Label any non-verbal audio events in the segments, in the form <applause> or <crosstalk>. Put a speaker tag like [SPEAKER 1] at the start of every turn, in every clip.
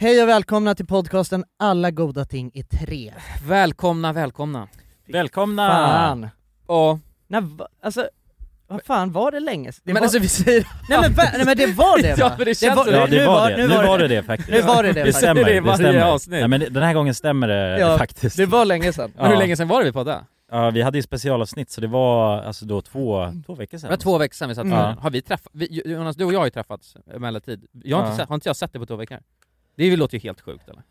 [SPEAKER 1] Hej och välkomna till podcasten Alla goda ting i tre.
[SPEAKER 2] Välkomna, välkomna.
[SPEAKER 3] Välkomna!
[SPEAKER 1] Fan!
[SPEAKER 2] Ja.
[SPEAKER 1] Ah. När, va- alltså, vad fan var det länge s- det
[SPEAKER 2] Men
[SPEAKER 1] var,
[SPEAKER 2] alltså vi <laughs> säger...
[SPEAKER 1] nej, men, <laughs> va- nej men det var det
[SPEAKER 2] Ja,
[SPEAKER 1] va?
[SPEAKER 2] men det känns
[SPEAKER 1] var-
[SPEAKER 2] så.
[SPEAKER 3] Ja, det
[SPEAKER 1] nu
[SPEAKER 3] var,
[SPEAKER 1] var-
[SPEAKER 3] det.
[SPEAKER 1] nu
[SPEAKER 3] Nu
[SPEAKER 1] var
[SPEAKER 3] var
[SPEAKER 1] det.
[SPEAKER 3] det, faktiskt.
[SPEAKER 1] Nu var det det
[SPEAKER 3] Det
[SPEAKER 1] faktiskt.
[SPEAKER 3] stämmer,
[SPEAKER 2] Det är
[SPEAKER 3] det,
[SPEAKER 2] varje
[SPEAKER 3] stämmer.
[SPEAKER 2] avsnitt.
[SPEAKER 3] Nej, men den här gången stämmer det
[SPEAKER 1] Ja.
[SPEAKER 3] faktiskt.
[SPEAKER 1] Det var länge sedan.
[SPEAKER 2] Men
[SPEAKER 3] Ja.
[SPEAKER 2] hur länge sedan var det vi poddade?
[SPEAKER 3] Ja, vi hade ju specialavsnitt så det var alltså då två, två veckor
[SPEAKER 2] Det
[SPEAKER 3] sedan.
[SPEAKER 2] var två veckor sedan vi satt
[SPEAKER 1] Mm.
[SPEAKER 2] här. Har vi träffat... Vi, Jonas, du och jag har ju träffats emellertid. Jag har, inte
[SPEAKER 3] Ja.
[SPEAKER 2] sett, har inte jag sett dig på två veckor? Det låter ju helt sjukt eller?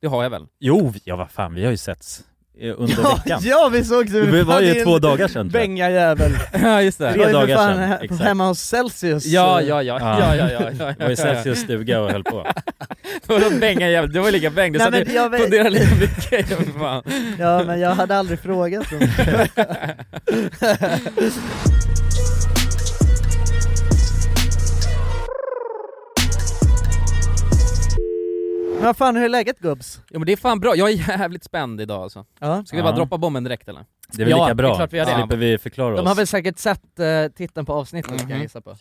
[SPEAKER 2] Det har jag väl?
[SPEAKER 3] Jo, ja vad fan, vi har ju setts eh, under
[SPEAKER 1] <laughs> Ja,
[SPEAKER 3] veckan.
[SPEAKER 1] ja vi såg det!
[SPEAKER 3] Det var ju
[SPEAKER 1] Din
[SPEAKER 3] två dagar sedan tror jag.
[SPEAKER 1] Bängajävel.
[SPEAKER 2] Ja just det.
[SPEAKER 1] Det var ju för
[SPEAKER 3] dagar
[SPEAKER 1] fan
[SPEAKER 3] sedan,
[SPEAKER 1] he-
[SPEAKER 3] exakt.
[SPEAKER 1] Hemma hos Celsius.
[SPEAKER 2] Ja, ja, ja, ja, ja, ja, ja,
[SPEAKER 3] Det var
[SPEAKER 2] ja,
[SPEAKER 3] i Celsius stuga och höll på.
[SPEAKER 2] Vadå bänga jävligt? Du var lika bäng, du
[SPEAKER 1] Nej,
[SPEAKER 2] satt
[SPEAKER 1] men,
[SPEAKER 2] ju
[SPEAKER 1] jag,
[SPEAKER 2] och
[SPEAKER 1] vet-
[SPEAKER 2] funderade lika mycket. <laughs> Ja, fan.
[SPEAKER 1] ja men jag hade aldrig frågat <laughs> dem. Men vad fan, hur är läget gubbs?
[SPEAKER 2] Jo men det är fan bra, jag är jävligt spänd idag alltså.
[SPEAKER 1] Ja.
[SPEAKER 2] Ska vi bara
[SPEAKER 3] Ja.
[SPEAKER 2] droppa bomben direkt eller?
[SPEAKER 3] Det är väl
[SPEAKER 2] Ja, det
[SPEAKER 3] lika
[SPEAKER 2] är
[SPEAKER 3] bra,
[SPEAKER 2] klart vi gör det.
[SPEAKER 3] slipper vi förklara
[SPEAKER 1] De
[SPEAKER 3] oss.
[SPEAKER 1] har väl säkert sett eh, titeln på avsnittet kan jag
[SPEAKER 2] Mhm.
[SPEAKER 1] gissa på.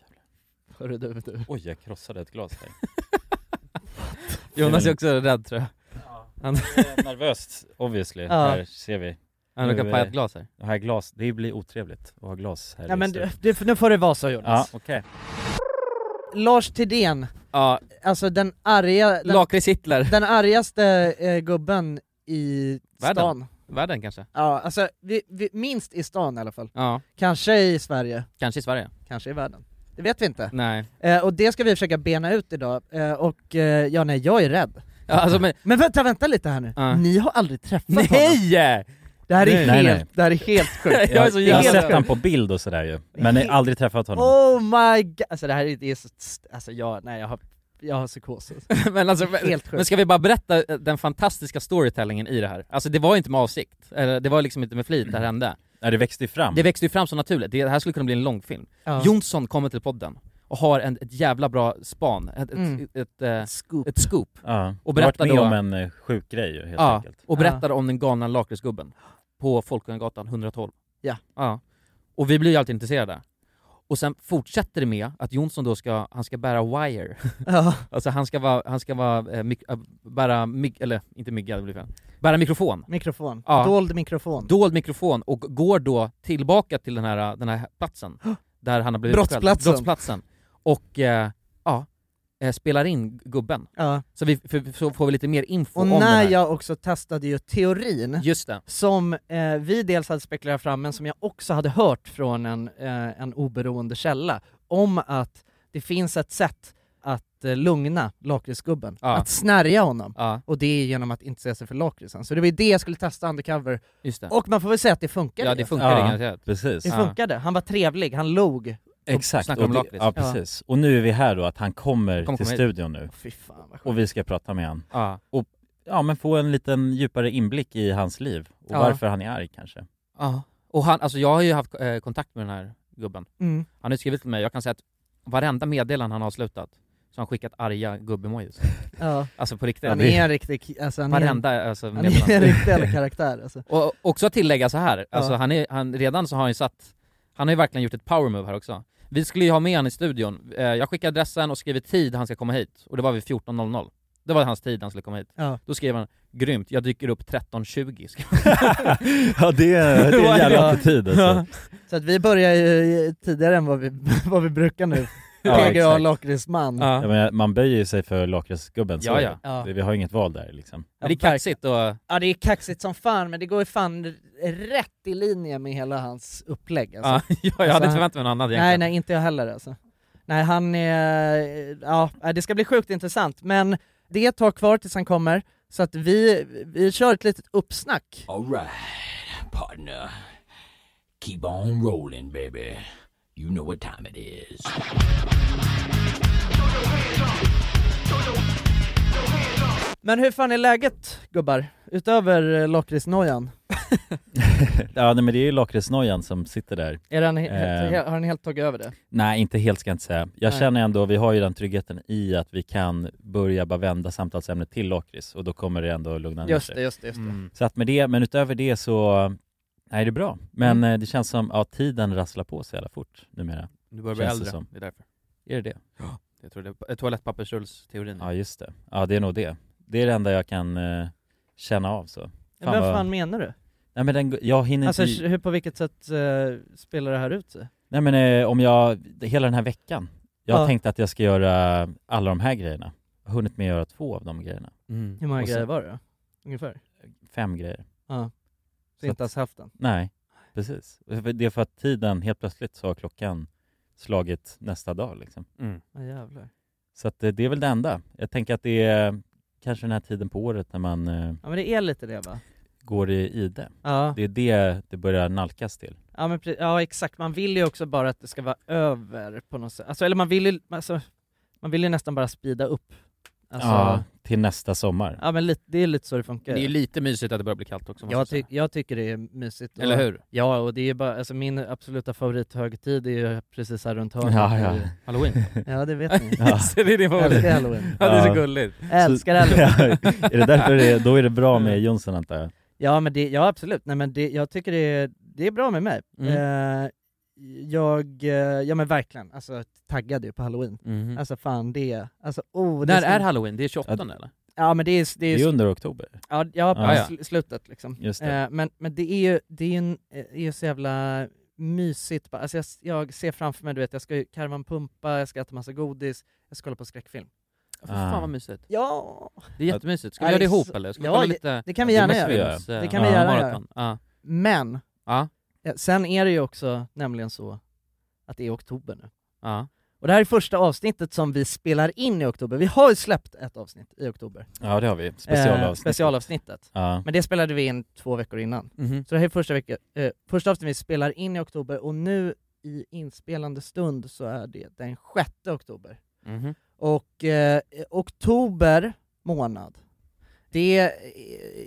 [SPEAKER 1] Hörru du, du.
[SPEAKER 3] Oj, jag krossade ett glas
[SPEAKER 1] <laughs>
[SPEAKER 3] där.
[SPEAKER 2] Jonas är också rädd tror jag.
[SPEAKER 3] Det är Eh, Nervöst, obviously.
[SPEAKER 1] Ja.
[SPEAKER 3] Här ser vi.
[SPEAKER 2] Han råkar paja ett glas här.
[SPEAKER 3] Och här glas, det blir otrevligt att ha glas här
[SPEAKER 1] Nej men
[SPEAKER 3] i stugan.
[SPEAKER 1] du, det, nu får det vara så Jonas.
[SPEAKER 3] Ja, okej.
[SPEAKER 1] Lars Tidén,
[SPEAKER 2] Ja,
[SPEAKER 1] alltså den arga, den,
[SPEAKER 2] Lakrits Hitler.
[SPEAKER 1] den argaste eh, gubben i
[SPEAKER 2] Världen.
[SPEAKER 1] stan.
[SPEAKER 2] Världen kanske?
[SPEAKER 1] Ja, alltså vi, vi, minst i stan i alla fall.
[SPEAKER 2] Ja,
[SPEAKER 1] Kanske i Sverige,
[SPEAKER 2] kanske i Sverige.
[SPEAKER 1] kanske i världen. Det vet vi inte.
[SPEAKER 2] Nej.
[SPEAKER 1] Eh, och det ska vi försöka bena ut idag, eh, och eh, ja nej, jag är rädd.
[SPEAKER 2] Ja, alltså men,
[SPEAKER 1] Men vänta, vänta lite här nu.
[SPEAKER 2] Ja.
[SPEAKER 1] Ni har aldrig träffat honom?
[SPEAKER 2] <laughs> nej!
[SPEAKER 1] Det här är
[SPEAKER 2] Nej,
[SPEAKER 1] helt,
[SPEAKER 3] nej, nej.
[SPEAKER 1] det här är helt sjukt.
[SPEAKER 2] <laughs> Jag är så
[SPEAKER 3] Jag, jag har
[SPEAKER 2] jävla
[SPEAKER 3] sett
[SPEAKER 2] rädd.
[SPEAKER 3] honom på bild och sådär ju,
[SPEAKER 2] <laughs>
[SPEAKER 3] men jag har aldrig träffat honom.
[SPEAKER 1] Oh my god! Alltså det här är, det är så, alltså jag, nej jag har, jag har psykos.
[SPEAKER 2] men alltså, men,
[SPEAKER 1] Helt sjukt.
[SPEAKER 2] men ska vi bara berätta eh, den fantastiska storytellingen i det här? Alltså det var ju inte med avsikt, eller det var liksom inte med flit det här hände.
[SPEAKER 3] Nej, det växte ju fram.
[SPEAKER 2] Det växte ju fram så naturligt, det här skulle kunna bli en långfilm.
[SPEAKER 1] Ja.
[SPEAKER 2] Jonsson kommer till podden och har en, ett jävla bra span, ett,
[SPEAKER 1] Mm.
[SPEAKER 2] ett, ett, eh,
[SPEAKER 1] Scoop.
[SPEAKER 2] ett scoop,
[SPEAKER 3] Ja.
[SPEAKER 2] Och
[SPEAKER 3] Och
[SPEAKER 2] berätta
[SPEAKER 3] berätta varit med
[SPEAKER 2] då-
[SPEAKER 3] om en eh, sjuk grej ju, helt
[SPEAKER 2] Ja.
[SPEAKER 3] enkelt.
[SPEAKER 2] och berättar om den galna lakritsgubben på Folkungagatan 112.
[SPEAKER 1] Ja.
[SPEAKER 2] ja. Och vi blir ju alltid intresserade. Och sen fortsätter det med att Jonsson då ska, han ska bära wire <laughs>
[SPEAKER 1] Ja.
[SPEAKER 2] Alltså han ska vara, han ska vara, eh, mik- eh, bära mig- eller inte mygga, det blir fel. Bära mikrofon.
[SPEAKER 1] Mikrofon.
[SPEAKER 2] Ja.
[SPEAKER 1] Dold mikrofon.
[SPEAKER 2] Dold mikrofon och går då tillbaka till den här, den här
[SPEAKER 1] <gasps>
[SPEAKER 2] platsen, där han har blivit
[SPEAKER 1] Brottsplatsen.
[SPEAKER 2] skälld. Brottsplatsen. Och, eh, ja, eh, spelar in gubben.
[SPEAKER 1] ja.
[SPEAKER 2] Så vi för, så får vi lite mer info
[SPEAKER 1] Och
[SPEAKER 2] om den
[SPEAKER 1] när
[SPEAKER 2] här.
[SPEAKER 1] jag också testade ju teorin,
[SPEAKER 2] Just det.
[SPEAKER 1] som eh, vi dels hade spekulerat fram, men som jag också hade hört från en, eh, en oberoende källa, om att det finns ett sätt att eh, lugna lakritsgubben,
[SPEAKER 2] Ja.
[SPEAKER 1] att snärja honom.
[SPEAKER 2] Ja,
[SPEAKER 1] Och det är genom att intressera sig för lakritsen. Så det var ju det jag skulle testa undercover,
[SPEAKER 2] just det.
[SPEAKER 1] och man får väl säga att det funkade.
[SPEAKER 2] Ja, det
[SPEAKER 1] ju.
[SPEAKER 2] funkar det
[SPEAKER 3] Ja.
[SPEAKER 2] garanterat.
[SPEAKER 3] Precis.
[SPEAKER 1] Det
[SPEAKER 2] Ja.
[SPEAKER 1] funkade, han var trevlig, han log.
[SPEAKER 3] Exakt.
[SPEAKER 2] snackar om
[SPEAKER 3] Och det-
[SPEAKER 2] lakrits.
[SPEAKER 3] Ja, precis. Och nu är vi här då, att han kommer
[SPEAKER 2] Kom,
[SPEAKER 3] till
[SPEAKER 2] kom hit.
[SPEAKER 3] studion nu.
[SPEAKER 1] Fy fan vad sjukt.
[SPEAKER 3] Och vi ska prata med han.
[SPEAKER 2] Ja.
[SPEAKER 3] Ja, men få en liten djupare inblick i hans liv. Och
[SPEAKER 2] Ja.
[SPEAKER 3] varför han är arg kanske. <laughs>
[SPEAKER 2] ja. Och han, alltså jag har ju haft eh, kontakt med den här gubben.
[SPEAKER 1] Mm.
[SPEAKER 2] Han har ju skrivit till mig, jag kan säga att varenda meddelande han har slutat, så har han skickat arga gubbemojis.
[SPEAKER 1] Ja.
[SPEAKER 2] Alltså på riktigt.
[SPEAKER 1] Han är en riktig, alltså han är en,
[SPEAKER 2] Varenda alltså,
[SPEAKER 1] han är <laughs> en
[SPEAKER 2] meddelande.
[SPEAKER 1] riktig jävla karaktär alltså.
[SPEAKER 2] Och också tillägga så här, alltså,
[SPEAKER 1] Ja.
[SPEAKER 2] han är, han, redan så har han ju satt, han har ju verkligen gjort ett power move här också. Vi skulle ju ha med han i studion, Eh, jag skickade adressen och skrev tid han ska komma hit, och det var vid 14.00. Det var hans tid han skulle komma hit.
[SPEAKER 1] Ja.
[SPEAKER 2] Då skrev han 'Grymt, jag dyker upp 13.20' skrev
[SPEAKER 3] ja, det är, det är en jävla attityd alltså.
[SPEAKER 1] Så att vi börjar ju tidigare än vad vi, <laughs> vad vi brukar nu.
[SPEAKER 3] <laughs> Ja,
[SPEAKER 1] PGA
[SPEAKER 3] exakt.
[SPEAKER 1] lakritsman.
[SPEAKER 2] han.
[SPEAKER 3] Ja, men man böjer sig för lakritsgubben, så
[SPEAKER 2] Ja,
[SPEAKER 3] är
[SPEAKER 2] ja.
[SPEAKER 1] Ja.
[SPEAKER 3] det. Vi har inget val där liksom. <laughs>
[SPEAKER 2] Men det är kaxigt och...
[SPEAKER 1] Ja det är kaxigt som fan men det går ju fan rätt i linje med hela hans upplägg alltså.
[SPEAKER 2] Ja, <laughs> jag
[SPEAKER 1] Alltså,
[SPEAKER 2] hade inte förväntat mig något annat
[SPEAKER 1] Nej
[SPEAKER 2] egentligen.
[SPEAKER 1] nej inte jag heller alltså. Nej han är, ja det ska bli sjukt intressant men det är ett tag kvar tills han kommer så att vi, vi kör ett litet uppsnack.
[SPEAKER 4] All right, partner. Keep on rolling, baby. You know what time it is.
[SPEAKER 1] Men hur fan är läget gubbar? Utöver eh, lakritsnojan?
[SPEAKER 3] Ja, nej, men det är ju lakritsnojan som sitter där.
[SPEAKER 1] Är den he- he-
[SPEAKER 3] Eh.
[SPEAKER 1] he- har den helt tagit över det?
[SPEAKER 3] Nej, inte helt ska jag inte säga. Jag
[SPEAKER 1] Nej.
[SPEAKER 3] känner ändå, vi har ju den tryggheten i att vi kan börja bara vända samtalsämnet till lakrits och då kommer det ändå lugna ner
[SPEAKER 1] Just
[SPEAKER 3] sig.
[SPEAKER 1] det, just det, just det.
[SPEAKER 2] Mm.
[SPEAKER 3] Så att med det, men utöver det så, nej det är bra. Men
[SPEAKER 1] Mm.
[SPEAKER 3] eh, det känns som, ja tiden rasslar på så jävla fort numera.
[SPEAKER 2] Du börjar bli
[SPEAKER 3] Känns det
[SPEAKER 2] äldre,
[SPEAKER 3] som.
[SPEAKER 2] det är därför.
[SPEAKER 3] Är det det? Mm.
[SPEAKER 2] Jag tror det är toalettpappersrullsteorin.
[SPEAKER 3] Ja just det. Ja det är nog det. Det är det enda jag kan eh, känna av så.
[SPEAKER 1] Men
[SPEAKER 3] Fan
[SPEAKER 1] vad
[SPEAKER 3] vad-
[SPEAKER 1] fan menar du?
[SPEAKER 3] Nej men den, jag hinner
[SPEAKER 1] Alltså
[SPEAKER 3] inte...
[SPEAKER 1] hur, på vilket sätt eh, spelar det här ut sig?
[SPEAKER 3] Nej men eh, om jag, hela den här veckan. Jag har
[SPEAKER 1] Ja.
[SPEAKER 3] tänkt att jag ska göra alla de här grejerna. Jag har hunnit med att göra två av de grejerna.
[SPEAKER 2] Mm.
[SPEAKER 1] Hur många
[SPEAKER 3] Och sen-
[SPEAKER 1] grejer var det då? Ungefär?
[SPEAKER 3] Fem grejer.
[SPEAKER 1] Ja. Så,
[SPEAKER 3] Så
[SPEAKER 1] inte
[SPEAKER 3] att-
[SPEAKER 1] ens hälften?
[SPEAKER 3] Nej, precis. För Det är för att tiden, helt plötsligt så har klockan slagit nästa dag liksom.
[SPEAKER 2] Mm.
[SPEAKER 1] Ja jävlar.
[SPEAKER 3] Så att eh, det är väl det enda. Jag tänker att det är kanske den här tiden på året när man eh,
[SPEAKER 1] Ja men det är lite det va?
[SPEAKER 3] går i ide.
[SPEAKER 1] Ja,
[SPEAKER 3] Det är det det börjar nalkas till.
[SPEAKER 1] ja, men, pre- ja exakt, man vill ju också bara att det ska vara över på något sätt. Alltså eller man vill ju, alltså, man vill ju nästan bara speeda upp. Alltså,
[SPEAKER 3] ja,
[SPEAKER 1] ja.
[SPEAKER 3] till nästa sommar.
[SPEAKER 1] ja men lite, det är lite så det funkar.
[SPEAKER 2] Det är ju lite mysigt att det börjar bli kallt också måste
[SPEAKER 1] jag,
[SPEAKER 2] jag
[SPEAKER 1] ty-
[SPEAKER 2] säga.
[SPEAKER 1] jag tycker det är mysigt. och-
[SPEAKER 2] Eller hur?
[SPEAKER 1] Ja, och det är bara, alltså min absoluta favorithögtid är ju precis här runt hörnet.
[SPEAKER 3] Ja, ja.
[SPEAKER 2] Halloween?
[SPEAKER 1] <laughs> ja det vet
[SPEAKER 3] <laughs>
[SPEAKER 1] ni.
[SPEAKER 3] Ja.
[SPEAKER 2] Så <laughs> det är din
[SPEAKER 1] Jag
[SPEAKER 2] favorit?
[SPEAKER 1] älskar halloween.
[SPEAKER 2] Ja det är så
[SPEAKER 3] Ja.
[SPEAKER 2] gulligt.
[SPEAKER 1] <laughs> Jag älskar
[SPEAKER 3] Så-
[SPEAKER 1] halloween.
[SPEAKER 3] Ja, <laughs> är det därför det, då är det bra
[SPEAKER 1] Mm.
[SPEAKER 3] med Jonsson antar jag?
[SPEAKER 1] Ja men det, ja absolut, nej men det, jag tycker det är, det är bra med mig.
[SPEAKER 2] Mm.
[SPEAKER 1] Eh, jag, eh, ja men verkligen, alltså taggad ju på halloween.
[SPEAKER 3] Mm.
[SPEAKER 2] Mhm.
[SPEAKER 1] Alltså fan det, alltså oh, det
[SPEAKER 2] När
[SPEAKER 1] ska-
[SPEAKER 2] är halloween? Det är 28 eller?
[SPEAKER 1] Ja men det är, det
[SPEAKER 3] Det
[SPEAKER 1] är,
[SPEAKER 3] är under oktober.
[SPEAKER 1] ja, ja,
[SPEAKER 3] Ja,
[SPEAKER 2] ja.
[SPEAKER 1] sl- slutet liksom.
[SPEAKER 3] Just det.
[SPEAKER 1] Eh, men, men det är ju, det är ju, en, eh, är ju så jävla mysigt, bara. alltså jag, s- jag ser framför mig, du vet jag ska ju karva en pumpa, jag ska äta massa godis, jag ska kolla på skräckfilm.
[SPEAKER 2] Ja, för fan
[SPEAKER 3] Ah.
[SPEAKER 2] vad mysigt.
[SPEAKER 1] Ja,
[SPEAKER 2] Det är jättemysigt. Ska vi
[SPEAKER 1] Ja,
[SPEAKER 2] göra det
[SPEAKER 1] det är
[SPEAKER 2] ihop
[SPEAKER 1] så-
[SPEAKER 2] eller? Ska vi
[SPEAKER 1] Ja,
[SPEAKER 2] kolla lite?
[SPEAKER 1] det kan vi
[SPEAKER 3] Ja, det
[SPEAKER 1] gärna
[SPEAKER 3] måste vi
[SPEAKER 1] göra.
[SPEAKER 3] göra.
[SPEAKER 2] Films, eh,
[SPEAKER 1] Det kan vi
[SPEAKER 2] ja,
[SPEAKER 1] gärna
[SPEAKER 2] maraton. Ja.
[SPEAKER 1] Men,
[SPEAKER 2] Ja.
[SPEAKER 1] eh, sen är det ju också nämligen så att det är oktober nu.
[SPEAKER 2] Ja.
[SPEAKER 1] Och det här är första avsnittet som vi spelar in i oktober. Vi har ju släppt ett avsnitt i oktober.
[SPEAKER 3] Ja det har vi.
[SPEAKER 1] Eh,
[SPEAKER 3] Specialavsnitt.
[SPEAKER 1] specialavsnittet.
[SPEAKER 3] Ja.
[SPEAKER 1] Men det spelade vi in två veckor innan.
[SPEAKER 2] Mhm.
[SPEAKER 1] Så det här är första, vecka, eh, första avsnittet vi spelar in i oktober och nu i inspelande stund så är det den 6 oktober.
[SPEAKER 2] Mhm.
[SPEAKER 1] Och eh, oktober månad, det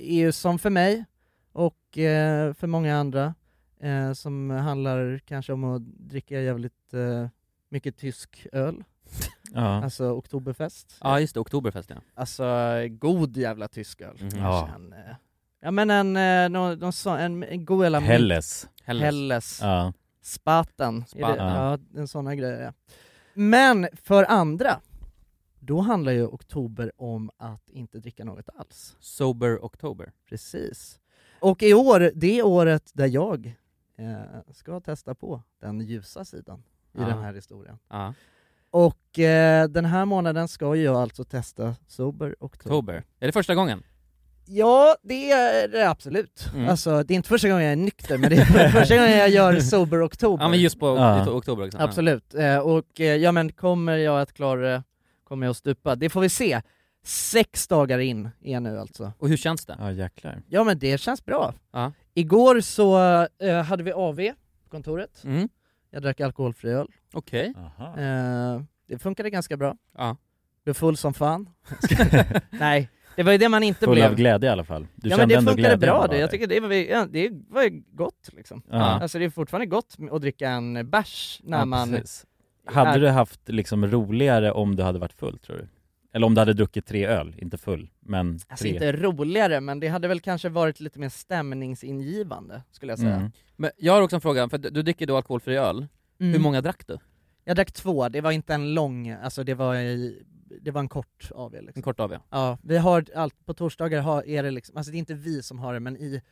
[SPEAKER 1] är ju som för mig och eh, för många andra eh, som handlar kanske om att dricka jävligt eh, mycket tysk öl,
[SPEAKER 3] Ja.
[SPEAKER 1] alltså oktoberfest.
[SPEAKER 2] ja just det, oktoberfest ja.
[SPEAKER 1] Alltså god jävla tysk öl.
[SPEAKER 2] Mhm.
[SPEAKER 3] Ja.
[SPEAKER 1] Sen, eh, ja men en, eh, nå- någon sån, en, en god jävla
[SPEAKER 3] Helles.
[SPEAKER 2] Helles.
[SPEAKER 1] Helles.
[SPEAKER 3] Ja.
[SPEAKER 1] Spaten. Är det,
[SPEAKER 2] Spaten.
[SPEAKER 1] ja, en sån grej. Ja. Men för andra, då handlar ju oktober om att inte dricka något alls.
[SPEAKER 2] Sober Oktober.
[SPEAKER 1] Precis. Och i år, det är året där jag eh, ska testa på den ljusa sidan i
[SPEAKER 2] Ja.
[SPEAKER 1] den här historien.
[SPEAKER 2] Ja.
[SPEAKER 1] Och eh, den här månaden ska ju jag alltså testa Sober Oktober.
[SPEAKER 2] Oktober. Är det första gången?
[SPEAKER 1] Ja, det är det absolut.
[SPEAKER 2] Mm.
[SPEAKER 1] Alltså, det är inte första gången jag är nykter, men det är första gången jag gör Sober Oktober.
[SPEAKER 2] Ja men just på
[SPEAKER 3] Ja.
[SPEAKER 2] i to- oktober också.
[SPEAKER 1] Absolut. Eh, och eh, ja, men kommer jag att klara det? Kommer jag att stupa? Det får vi se. Sex dagar in är jag nu alltså.
[SPEAKER 2] Ja. Och hur känns det?
[SPEAKER 3] Ja jäklar.
[SPEAKER 1] Ja, men det känns bra.
[SPEAKER 2] Ja.
[SPEAKER 1] Igår så eh, hade vi AV på kontoret.
[SPEAKER 2] Mm.
[SPEAKER 1] Jag drack alkoholfri öl.
[SPEAKER 2] Okej.
[SPEAKER 3] Aha.
[SPEAKER 1] Eh, det funkade ganska bra.
[SPEAKER 2] Ja.
[SPEAKER 1] Blev full som fan. Nej, det var ju det man inte
[SPEAKER 3] Full
[SPEAKER 1] blev.
[SPEAKER 3] av glädje i alla fall. Du
[SPEAKER 1] ja men
[SPEAKER 3] kände
[SPEAKER 1] det
[SPEAKER 3] ändå
[SPEAKER 1] funkade
[SPEAKER 3] glädje
[SPEAKER 1] bra
[SPEAKER 3] bara
[SPEAKER 1] det. Jag
[SPEAKER 3] där.
[SPEAKER 1] tycker det var, ja, det var ju gott liksom.
[SPEAKER 3] Ja.
[SPEAKER 1] Alltså det är fortfarande gott att dricka en bärs när
[SPEAKER 3] Ja,
[SPEAKER 1] man...
[SPEAKER 3] precis. Hade
[SPEAKER 1] är-
[SPEAKER 3] du haft liksom roligare om du hade varit full tror du? Eller om du hade druckit tre öl, inte full, men tre.
[SPEAKER 1] Alltså inte roligare, men det hade väl kanske varit lite mer stämningsingivande skulle jag säga.
[SPEAKER 3] Mm.
[SPEAKER 2] Men jag har också en fråga, för du du dricker då alkoholfri öl.
[SPEAKER 1] Mm.
[SPEAKER 2] Hur många drack du?
[SPEAKER 1] Jag drack två, det var inte en lång, alltså det var, i, det var en kort AW liksom.
[SPEAKER 2] En kort av ja.
[SPEAKER 1] Ja, vi har allt, på torsdagar har, är det liksom, alltså det är inte vi som har det men i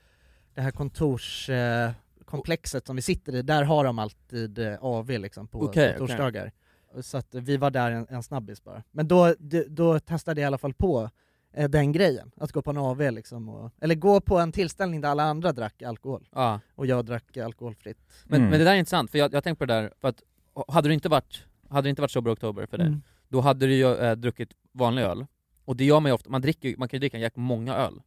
[SPEAKER 1] det här kontorskomplexet eh, komplexet som vi sitter i, där har de alltid eh, AV liksom på,
[SPEAKER 2] Okej,
[SPEAKER 1] på
[SPEAKER 2] okej.
[SPEAKER 1] torsdagar. Så att vi var där en, en snabbis bara. Men då, d- då testade jag i alla fall på eh, den grejen, att gå på en AV liksom, och, eller gå på en tillställning där alla andra drack alkohol.
[SPEAKER 2] ja.
[SPEAKER 1] och jag drack alkoholfritt.
[SPEAKER 2] Men,
[SPEAKER 3] Mm.
[SPEAKER 2] men det där är intressant, för jag, jag har tänkt på det där, för att hade du inte varit, hade det inte varit Sober Oktober för dig,
[SPEAKER 1] Mm.
[SPEAKER 2] då hade du ju eh, druckit vanlig öl. Och det gör man ju ofta, man, dricker, ju- man kan ju dricka jäkligt många öl. Alltså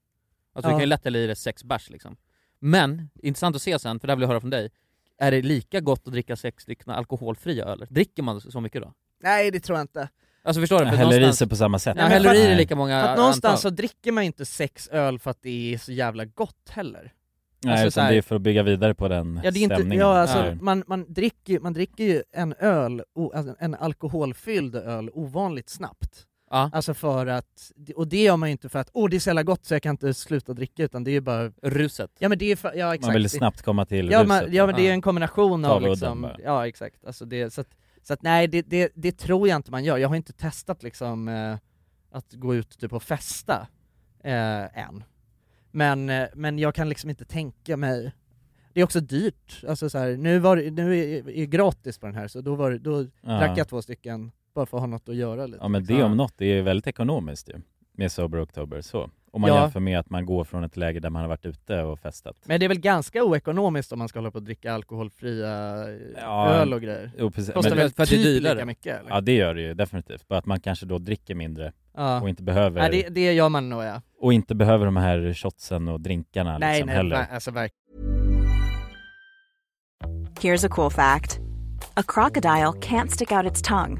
[SPEAKER 1] Ja.
[SPEAKER 2] du kan ju lätt hälla i dig sex bärs liksom. Men, intressant att se sen, för det här vill jag höra från dig, är det lika gott att dricka sex stycken alkoholfria öl? Dricker man så mycket då?
[SPEAKER 1] Nej det tror jag inte.
[SPEAKER 2] Alltså förstår du? För
[SPEAKER 3] Mm. Häller i
[SPEAKER 2] någonstans-
[SPEAKER 3] sig på samma sätt.
[SPEAKER 2] Ja,
[SPEAKER 1] men
[SPEAKER 2] häller i
[SPEAKER 1] för-
[SPEAKER 2] dig lika många
[SPEAKER 1] För att någonstans
[SPEAKER 2] antal.
[SPEAKER 1] så dricker man ju inte sex öl för att det är så jävla gott heller.
[SPEAKER 3] Nej,
[SPEAKER 1] alltså, så
[SPEAKER 3] utan
[SPEAKER 1] här-
[SPEAKER 3] det är för att bygga vidare på den
[SPEAKER 1] Ja, det är inte,
[SPEAKER 3] stämningen.
[SPEAKER 1] ja, alltså,
[SPEAKER 2] Ja.
[SPEAKER 1] Man, man, dricker, ju- man dricker ju en öl, o- alltså, en alkoholfylld öl ovanligt snabbt.
[SPEAKER 2] Ja,
[SPEAKER 1] Alltså för att, och det gör man ju inte för att åh det är så jävla gott så jag kan inte sluta dricka utan det är ju bara,
[SPEAKER 2] ruset.
[SPEAKER 1] ja men det är för, ja exakt.
[SPEAKER 3] man vill snabbt komma till
[SPEAKER 1] ja,
[SPEAKER 3] ruset.
[SPEAKER 1] man, ja men det är ju en kombination
[SPEAKER 3] Ta
[SPEAKER 1] av
[SPEAKER 3] udden
[SPEAKER 1] liksom,
[SPEAKER 3] bara.
[SPEAKER 1] ja exakt. Alltså det, så att, så att nej det, det, det tror jag inte man gör. Jag har inte testat liksom eh, att gå ut typ och festa eh, än. Men, eh, men jag kan liksom inte tänka mig det är också dyrt, alltså så här, nu, var, det- nu är det gratis på den här så då, var, det- då drack jag två stycken bara för att ha något att göra lite.
[SPEAKER 3] Ja men det om något, det är väldigt ekonomiskt ju, med Sober October så. Om man
[SPEAKER 1] Ja.
[SPEAKER 3] jämför med att man går från ett läge där man har varit ute och festat.
[SPEAKER 1] Men det är väl ganska oekonomiskt om man ska hålla på och dricka alkoholfria eh,
[SPEAKER 3] Ja,
[SPEAKER 1] öl och grejer?
[SPEAKER 3] Jo, precis.
[SPEAKER 1] Kostar
[SPEAKER 3] Men,
[SPEAKER 2] det-
[SPEAKER 1] väl
[SPEAKER 2] för att det är
[SPEAKER 1] typ lika
[SPEAKER 2] dyrare.
[SPEAKER 1] mycket? Eller?
[SPEAKER 3] ja det gör det ju definitivt, bara att man kanske då dricker mindre
[SPEAKER 1] Ja.
[SPEAKER 3] och inte behöver,
[SPEAKER 1] Nej, det, det gör man nog ja.
[SPEAKER 3] och inte behöver de här shotsen och drinkarna
[SPEAKER 1] nej,
[SPEAKER 3] liksom
[SPEAKER 1] nej,
[SPEAKER 3] heller.
[SPEAKER 1] nej, alltså verkligen.
[SPEAKER 5] Here's a cool fact a crocodile can't stick out its tongue.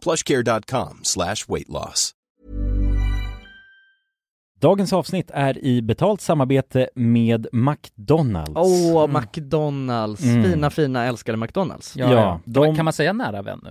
[SPEAKER 6] plushcare.com slash weight loss.
[SPEAKER 3] Dagens avsnitt är i betalt samarbete med McDonalds.
[SPEAKER 1] Åh, McDonalds.
[SPEAKER 3] Mm.
[SPEAKER 1] Fina, fina, älskade McDonalds.
[SPEAKER 3] Ja, de-
[SPEAKER 2] Kan man säga nära vän nu?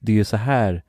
[SPEAKER 3] det är ju så här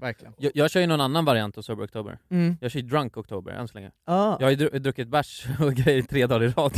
[SPEAKER 1] Verkligen.
[SPEAKER 2] Jag, jag kör ju någon annan variant av Sober October.
[SPEAKER 1] Mm.
[SPEAKER 2] Jag kör ju Drunk October än så länge.
[SPEAKER 1] Ja,
[SPEAKER 2] Jag har ju dru- druckit bärs <laughs> och grejer tre dagar i rad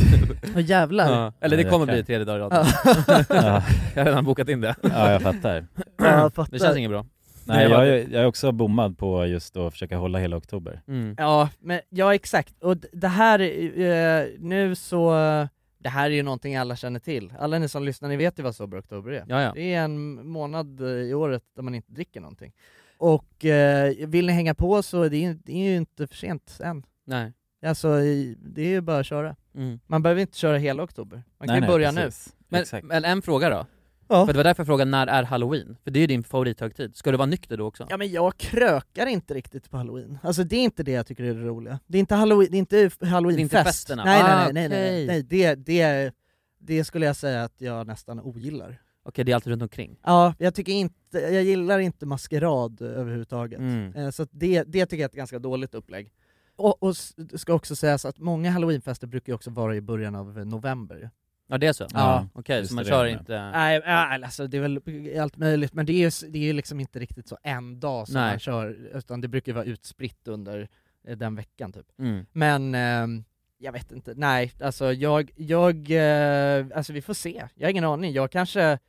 [SPEAKER 1] och jävlar.
[SPEAKER 2] ja. Eller det
[SPEAKER 3] Ja,
[SPEAKER 2] kommer
[SPEAKER 3] jäklar.
[SPEAKER 2] bli tredje dagen i rad.
[SPEAKER 1] Ja.
[SPEAKER 2] <clears throat> <laughs> Jag har redan bokat in det.
[SPEAKER 3] Ja, jag fattar.
[SPEAKER 1] Ja, jag fattar.
[SPEAKER 2] <clears throat> Det känns inget bra.
[SPEAKER 3] Nej, jag, är- jag är också bommad på just att försöka hålla hela oktober.
[SPEAKER 2] Mm.
[SPEAKER 1] Ja, men ja exakt. Och d- det här, eh, nu så, eh, det här är ju någonting alla känner till. Alla ni som lyssnar, ni vet ju vad Sober Oktober är.
[SPEAKER 2] Ja, ja.
[SPEAKER 1] Det är en månad eh, i året där man inte dricker någonting. Och eh, vill ni hänga på så är det, ju- det är ju inte för sent än.
[SPEAKER 2] Nej.
[SPEAKER 1] Alltså, i- det är ju bara att köra.
[SPEAKER 2] Mm.
[SPEAKER 1] Man behöver inte köra hela oktober. Man kan
[SPEAKER 3] Nej,
[SPEAKER 1] ju
[SPEAKER 3] nej,
[SPEAKER 1] börja nu.
[SPEAKER 3] precis.
[SPEAKER 2] Men,
[SPEAKER 3] Exakt.
[SPEAKER 2] men en fråga då.
[SPEAKER 1] Ja.
[SPEAKER 2] För det var därför jag frågade när är halloween? För det är ju din favorithögtid. Ska du vara nykter då också?
[SPEAKER 1] Ja men jag krökar inte riktigt på halloween. Alltså det är inte det jag tycker är det roliga. Det är inte halloween, det är inte f- halloweenfest.
[SPEAKER 2] Det är inte festerna.
[SPEAKER 1] Nej,
[SPEAKER 2] Ah,
[SPEAKER 1] nej, nej, nej, nej,
[SPEAKER 2] okej.
[SPEAKER 1] nej. Det, det, det skulle jag säga att jag nästan ogillar.
[SPEAKER 2] Okej, det är allt runt omkring.
[SPEAKER 1] Ja, jag tycker inte, jag gillar inte maskerad eh, överhuvudtaget.
[SPEAKER 2] Mm.
[SPEAKER 1] Eh, Så att det, det tycker jag är ett ganska dåligt upplägg. Och, och s- det ska också sägas att många halloweenfester brukar ju också vara i början av eh, november. ju.
[SPEAKER 2] Ja det är så?
[SPEAKER 3] Ja.
[SPEAKER 2] Okej,
[SPEAKER 3] Just
[SPEAKER 2] så man
[SPEAKER 3] det,
[SPEAKER 2] kör
[SPEAKER 3] det är det.
[SPEAKER 2] inte...
[SPEAKER 1] Nej, äh, alltså det är väl allt möjligt, men det är ju, s- det är ju liksom inte riktigt så en dag som
[SPEAKER 2] Nej.
[SPEAKER 1] man kör, utan det brukar ju vara utspritt under eh, den veckan typ. <laughs>
[SPEAKER 2] Mm.
[SPEAKER 1] Men ehm, jag vet inte, nej, alltså jag, jag, eh, alltså vi får se. Jag har ingen aning, jag kanske,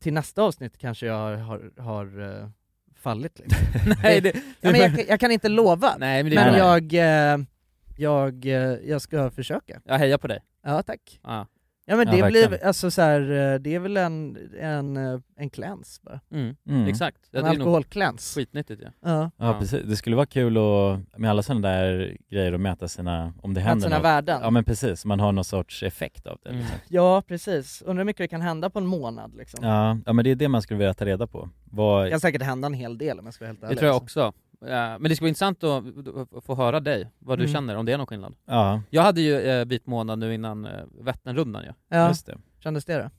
[SPEAKER 1] till nästa avsnitt kanske jag har, har eh, fallit
[SPEAKER 2] <laughs>
[SPEAKER 1] liksom.
[SPEAKER 2] Nej, det...
[SPEAKER 1] ja, men jag, jag kan inte lova,
[SPEAKER 2] Nej men det är
[SPEAKER 1] men
[SPEAKER 2] bra.
[SPEAKER 1] jag, eh, jag, eh, jag ska försöka.
[SPEAKER 2] Jag hejar på dig.
[SPEAKER 1] Ja tack.
[SPEAKER 2] Ja.
[SPEAKER 1] Ja men
[SPEAKER 3] Ja,
[SPEAKER 1] det blir,
[SPEAKER 3] verkligen.
[SPEAKER 1] alltså så här, eh, det är väl en, en, eh, en cleanse bara.
[SPEAKER 2] Mm.
[SPEAKER 3] Mm.
[SPEAKER 2] Exakt. Jag
[SPEAKER 1] En
[SPEAKER 2] tycker nog
[SPEAKER 1] alkoholcleanse.
[SPEAKER 2] skitnyttigt ju.
[SPEAKER 1] liksom- Ja.
[SPEAKER 3] Ja,
[SPEAKER 2] Ja.
[SPEAKER 3] precis. Det skulle vara kul att, med alla sådana där grejer, att mäta sina, om det
[SPEAKER 1] Att
[SPEAKER 3] händer
[SPEAKER 1] sina
[SPEAKER 3] något.
[SPEAKER 1] värden.
[SPEAKER 3] Ja,
[SPEAKER 1] Ja,
[SPEAKER 3] men precis. Man har någon sorts effekt av det.
[SPEAKER 2] Mm.
[SPEAKER 3] Liksom.
[SPEAKER 1] precis. Undrar hur mycket det kan hända på en månad liksom.
[SPEAKER 3] Ja, ja, men det är det man skulle vilja ta reda på. Vad,
[SPEAKER 1] Det kan säkert hända en hel del om jag ska vara helt
[SPEAKER 2] Det
[SPEAKER 1] ärlig.
[SPEAKER 2] tror jag
[SPEAKER 1] alltså.
[SPEAKER 2] också. Eh, Men det ska vara intressant att att få höra dig, vad du
[SPEAKER 1] Mm.
[SPEAKER 2] känner, om det är någon skillnad.
[SPEAKER 3] ja,
[SPEAKER 2] Jag hade ju eh, vit månad nu innan eh, Vätternrundan ju.
[SPEAKER 1] Ja,
[SPEAKER 3] just det. Mm.
[SPEAKER 1] kändes det då?